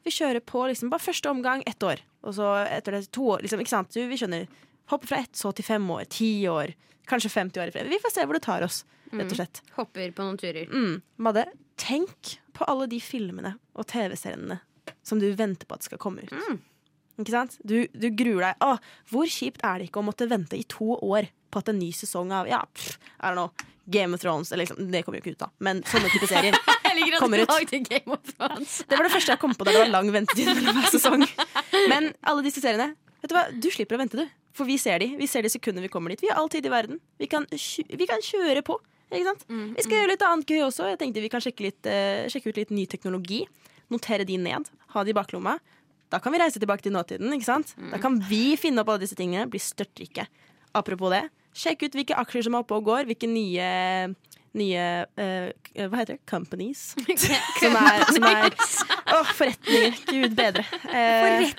Speaker 5: Vi kjører på liksom bare første omgang ett år, og så etter det to år. Liksom, ikke sant? Du, vi skjønner. Hoppe fra ett så til fem år, ti år, kanskje 50 år i fremtiden. Vi får se hvor det tar oss, rett
Speaker 6: Mm.
Speaker 5: og slett.
Speaker 6: Hopper på noen turer.
Speaker 5: Mm. Madde, tenk på alle de filmene og TV-seriene som du venter på at skal komme ut. Ikke sant? Du, du gruer deg. Åh, hvor kjipt er det ikke å måtte vente i to år på at en ny sesong av ja, pff, er det noe, Game of Thrones eller liksom, Det kommer jo ikke ut, da. Men sånne type serier
Speaker 6: Jeg liker at
Speaker 5: kommer
Speaker 6: du
Speaker 5: ut.
Speaker 6: lagde Game of Thrones.
Speaker 5: Det var det første jeg kom på da det var lang ventetid mellom hver sesong. Men alle disse seriene, vet du hva, du slipper å vente, du. For vi ser de. Vi ser de sekundene vi kommer dit. Vi har all tid i verden. Vi kan, kjø- vi kan kjøre på. Ikke sant? Vi skal gjøre litt annet gøy også. Jeg tenkte vi kan sjekke, litt, eh, sjekke ut litt ny teknologi. Notere de ned. Ha de i baklomma. Da kan vi reise tilbake til nåtiden. ikke sant? Da kan vi finne opp alle disse tingene. Bli størtrike. Apropos det, sjekk ut hvilke aksjer som er oppe og går. Hvilke nye, nye eh, Hva heter det? Companies. Som er, som er Åh, forretninger. Gud bedre. Eh,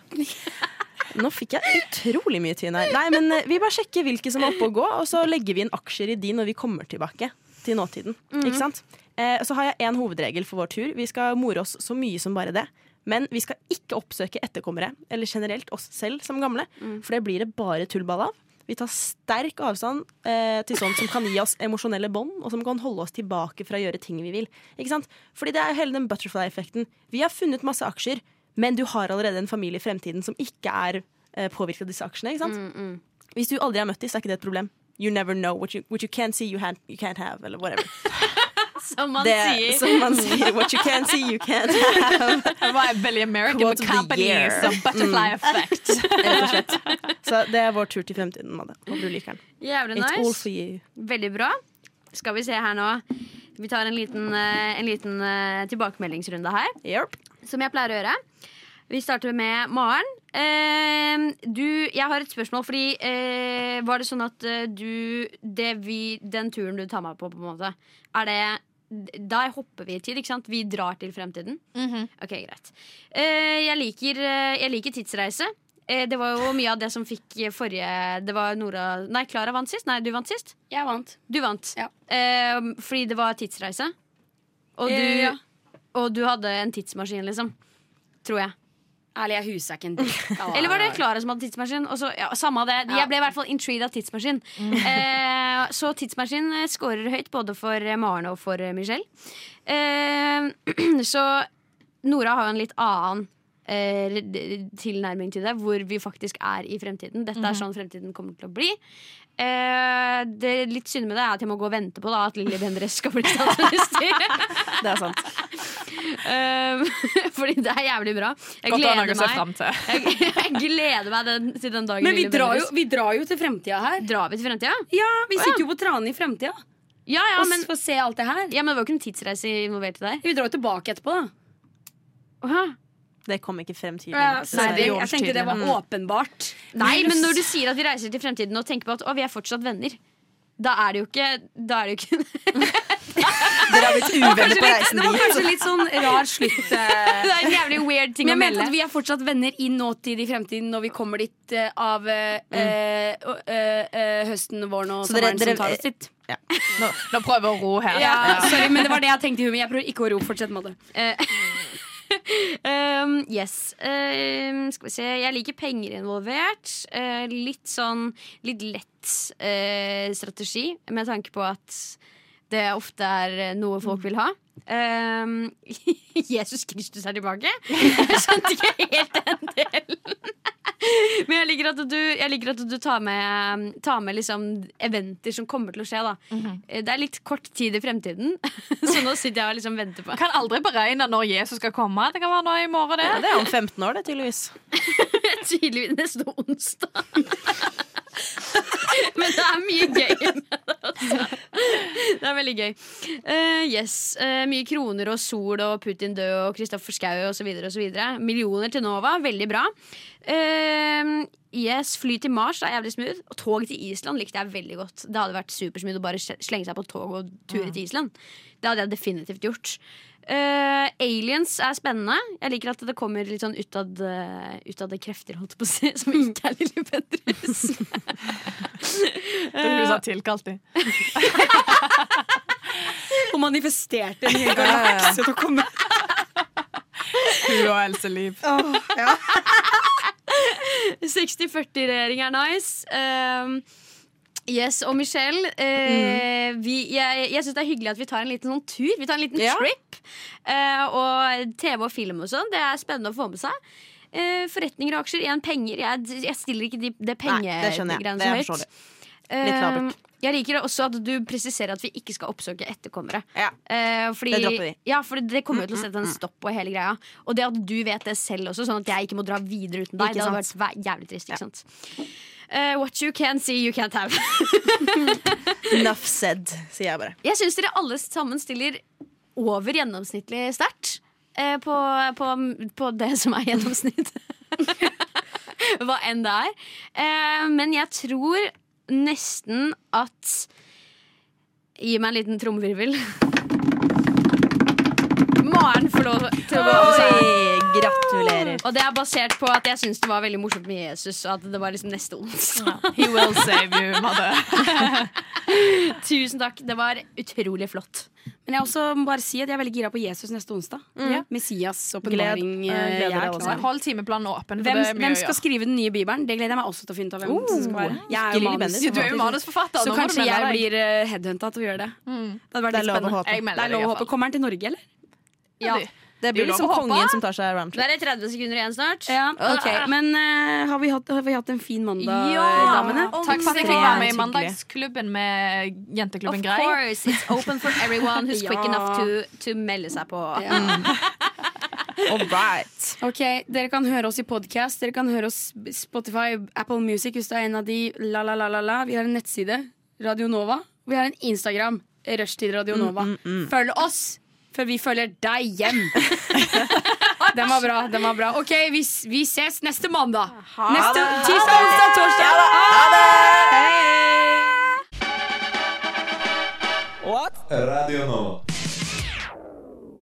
Speaker 5: nå fikk jeg utrolig mye tyn her. Nei, men eh, Vi bare sjekker hvilke som er oppe og gå, og så legger vi inn aksjer i de når vi kommer tilbake til nåtiden.
Speaker 6: Mhm.
Speaker 5: Ikke sant? Eh, så har jeg én hovedregel for vår tur. Vi skal more oss så mye som bare det. Men vi skal ikke oppsøke etterkommere, eller generelt oss selv som gamle. For det blir det bare tullball av. Vi tar sterk avstand eh, til sånt som kan gi oss emosjonelle bånd, og som kan holde oss tilbake fra å gjøre ting vi vil. Ikke sant? Fordi det er jo hele den butterfly-effekten. Vi har funnet masse aksjer, men du har allerede en familie i fremtiden som ikke er eh, påvirket av disse aksjene. Ikke sant?
Speaker 3: Mm,
Speaker 5: Hvis du aldri har møtt dem, så er ikke det et problem. You never know what you, what you can't see, you, han- you can't have, eller whatever.
Speaker 6: Som man
Speaker 5: det,
Speaker 6: sier.
Speaker 5: Som man sier. What you can't see, you can't have.
Speaker 4: Det var veldig American
Speaker 5: Quote
Speaker 4: with
Speaker 5: of the
Speaker 4: companies
Speaker 5: year.
Speaker 4: og butterfly
Speaker 5: Mm.
Speaker 4: effect.
Speaker 5: Rett og slett. Så det er vår tur til fremtiden, Madde. Håper du liker den.
Speaker 6: Jævlig
Speaker 5: It's all
Speaker 6: nice.
Speaker 5: for you.
Speaker 6: Veldig bra. Skal vi se her nå. Vi tar en liten, eh, en liten eh, tilbakemeldingsrunde her. Som jeg pleier å gjøre. Vi starter med Maren. Eh, du, jeg har et spørsmål, fordi eh, var det sånn at eh, du det vi, Den turen du tar meg på, på en måte, er det Da hopper vi i tid, ikke sant? Vi drar til fremtiden.
Speaker 3: Mhm.
Speaker 6: Ok, greit. Eh, jeg, liker, eh, jeg liker tidsreise. Eh, det var jo mye av det som fikk eh, forrige Det var Nora Nei, Klara vant sist. Nei, du vant sist.
Speaker 3: Jeg vant.
Speaker 6: Du vant. Eh, fordi det var tidsreise. Og du,
Speaker 3: Eh, ja.
Speaker 6: og du hadde en tidsmaskin, liksom. Tror jeg.
Speaker 3: Ærlig, jeg husker ikke en dritt. av hva
Speaker 6: Eller var det
Speaker 4: Ah.
Speaker 3: var.
Speaker 6: Klara som hadde tidsmaskin? Og så, ja, samme av det. Jeg ble i hvert fall intrigued av tidsmaskin.
Speaker 4: Mm.
Speaker 6: Eh, så tidsmaskin eh, scorer høyt både for eh, Maren og for eh, Michelle. Eh, så Nora har jo en litt annen eh, d- tilnærming til det, hvor vi faktisk er i fremtiden. Dette er
Speaker 4: Mhm.
Speaker 6: sånn fremtiden kommer til å bli. Eh, det litt synd med det er at jeg må gå og vente på da, at Lilly Bendriss skal bli statsminister.
Speaker 5: Det er sant.
Speaker 6: Eh, fordi det er jævlig bra. Jeg
Speaker 4: Godt å ha noe
Speaker 6: gleder
Speaker 4: å se
Speaker 6: meg.
Speaker 4: fram til.
Speaker 6: Jeg, jeg gleder meg den, til den dagen.
Speaker 3: Men vi
Speaker 6: Lille
Speaker 3: drar, jo,
Speaker 6: Bendriss-
Speaker 3: vi drar jo til fremtida her.
Speaker 6: Drar vi til fremtida?
Speaker 3: Ja, Vi sitter jo på Trane i fremtida
Speaker 6: Ja, ja,
Speaker 3: og
Speaker 6: men,
Speaker 3: får se alt det her.
Speaker 6: ja, men det var jo ikke en tidsreise involvert i der.
Speaker 3: Vi drar jo tilbake etterpå, da.
Speaker 6: Åha.
Speaker 5: Det kom ikke frem tydelig.
Speaker 3: Ja, nei,
Speaker 5: Dessverre.
Speaker 3: det, jeg tenkte det var
Speaker 5: Mm.
Speaker 3: åpenbart.
Speaker 6: Nei, men når du sier at vi reiser til fremtiden og tenker på at å, vi er fortsatt venner, da er det jo ikke Da er det jo ikke
Speaker 5: Dere har blitt uvenner på
Speaker 3: Det
Speaker 5: reisen
Speaker 3: var
Speaker 5: dit.
Speaker 3: kanskje litt sånn rar slutt. eh.
Speaker 6: Det er en jævlig weird ting
Speaker 3: Men
Speaker 6: å
Speaker 3: jeg mente
Speaker 6: melde.
Speaker 3: at vi er fortsatt venner i nåtid i fremtiden når vi kommer dit eh, av eh, eh, eh, eh, høsten, våren og
Speaker 5: Så dere-
Speaker 3: sommeren
Speaker 5: dere-
Speaker 3: som tar oss dit.
Speaker 4: Nå, nå prøver jeg å ro her.
Speaker 3: Ja, sorry, men det var det jeg tenkte i huet. men Jeg prøver ikke å ro. Fortsett med det.
Speaker 6: Um, yes. Um, skal vi se. Jeg liker penger involvert. Eh, litt sånn litt lett eh, strategi, med tanke på at det ofte er noe folk vil ha. Um, Jesus Kristus er tilbake! Jeg skjønte ikke helt den delen. Men jeg liker at du, jeg liker at du tar med, tar med liksom eventer som kommer til å skje. Da. Eh, Det er litt kort tid i fremtiden, så nå sitter jeg og liksom venter på
Speaker 4: Kan aldri beregne når Jesus skal komme. Det kan være nå i morgen.
Speaker 5: Ja,
Speaker 4: det
Speaker 5: det er om 15 år, det, tydeligvis.
Speaker 6: Tydeligvis neste onsdag. Men det er mye gøy med det. Altså. Det er veldig gøy. Eh, yes, eh, Mye kroner og sol og Putin død og Kristoffer Schou osv. Millioner til Nova. Veldig bra. Eh, yes, Fly til Mars er jævlig smooth. Og tog til Island likte jeg veldig godt. Det hadde vært supersmooth å bare slenge seg på tog og ture til Island. Det hadde jeg definitivt gjort. Eh, aliens er spennende. Jeg liker at det kommer litt sånn utad, eh, utad krefter, holdt jeg på å si, som ikke er Lilly Bendriss.
Speaker 4: Det er hun
Speaker 6: Eh,
Speaker 4: som har tilkalt dem.
Speaker 3: Og manifesterte en hel
Speaker 4: galakse
Speaker 3: til å komme.
Speaker 4: Hun og Else Liv.
Speaker 6: 60-40-regjering er nice. Um, Yes, og Michelle, eh,
Speaker 5: Mm.
Speaker 6: vi, jeg, jeg syns det er hyggelig at vi tar en liten sånn tur. Vi tar en liten
Speaker 13: Ja.
Speaker 6: trip. Eh, og TV og film og sånn, det er spennende å få med seg. Eh, forretninger og aksjer, igjen penger. Jeg, jeg stiller ikke de, det
Speaker 5: det skjønner jeg.
Speaker 6: pengegreiene så
Speaker 5: Det
Speaker 6: høyt.
Speaker 5: forstår du. Litt labert.
Speaker 6: Eh, jeg liker også at du presiserer at vi ikke skal oppsøke etterkommere. Eh, fordi,
Speaker 5: Det dropper vi. Mm,
Speaker 6: Ja, for det kommer jo til å sette en stopp på hele greia. Og det at du vet det selv også, sånn at jeg ikke må dra videre uten deg,
Speaker 5: Ikke
Speaker 6: det hadde vært væ- jævlig trist. Ikke sant? Eh, what you can see, you can't have.
Speaker 5: Enough said, sier jeg bare.
Speaker 6: Jeg syns dere alle sammen stiller over gjennomsnittlig sterkt eh, på, på, på det som er gjennomsnitt. Hva enn det er. Eh, men jeg tror nesten at Gi meg en liten trommevirvel. Maren får lov til å gå over seg.
Speaker 5: Gratulerer.
Speaker 6: Og det er basert på at jeg syns det var veldig morsomt med Jesus. Og at det var liksom neste onsdag.
Speaker 4: He will save you, mother.
Speaker 6: Tusen takk. Det var utrolig flott.
Speaker 3: Men jeg også må bare si at jeg er veldig gira på Jesus neste onsdag.
Speaker 6: Mm.
Speaker 3: Ja. Messias åpenbaring.
Speaker 6: Gled-
Speaker 3: eh,
Speaker 6: gleder
Speaker 3: jeg er
Speaker 6: dere alle
Speaker 3: klar.
Speaker 6: sammen.
Speaker 4: Hold timeplanen åpen. for
Speaker 3: Hvem,
Speaker 4: det er mye
Speaker 3: hvem
Speaker 4: å
Speaker 3: skal
Speaker 4: gjøre.
Speaker 3: skrive den nye bibelen? Det gleder jeg meg også til å finne ut av hvem
Speaker 4: Oh,
Speaker 3: som skal være. Jeg
Speaker 4: ikke
Speaker 3: er jo
Speaker 4: Lilly
Speaker 3: manus,
Speaker 4: Bendriss. Du er jo manusforfatter,
Speaker 3: Så
Speaker 4: da må du
Speaker 3: kanskje
Speaker 4: melde
Speaker 3: jeg
Speaker 4: deg. Mm.
Speaker 3: blir eh, headhunta til å gjøre det. Det hadde vært
Speaker 5: Det er
Speaker 3: litt
Speaker 5: lov å
Speaker 3: spennende.
Speaker 5: håpe. Jeg melder
Speaker 3: Det er lov
Speaker 5: deg,
Speaker 3: å
Speaker 5: iallfall.
Speaker 3: håpe. Kommer han til Norge, eller?
Speaker 6: Ja.
Speaker 5: Det
Speaker 3: Det er
Speaker 5: blir
Speaker 3: jo
Speaker 5: liksom
Speaker 3: lov å håpe.
Speaker 5: kongen som tar seg roundtrip.
Speaker 6: Det er 30 sekunder igjen snart.
Speaker 3: Ok, Men eh, har, vi hatt, har vi hatt en fin mandag,
Speaker 4: Ja!
Speaker 3: eh, damene?
Speaker 4: Takk for at jeg fikk være med i Mandagsklubben med
Speaker 6: Of
Speaker 4: Jenteklubben Grei.
Speaker 6: course, it's open for everyone who's quick
Speaker 4: Ja.
Speaker 6: enough to, to melde seg på.
Speaker 3: Mm. Ok, Dere kan høre oss i podkast, dere kan høre oss Spotify, Apple Music hvis du er en av de. La, la, la, la, la. Vi har en nettside, Radio Nova. Vi har en Instagram, Rushtid Radio Nova. Følg oss før vi følger deg hjem. den var bra. den var bra Ok, vi, s- vi ses neste mandag. neste
Speaker 10: det.
Speaker 3: Tirsdag, onsdag, torsdag. Ha det!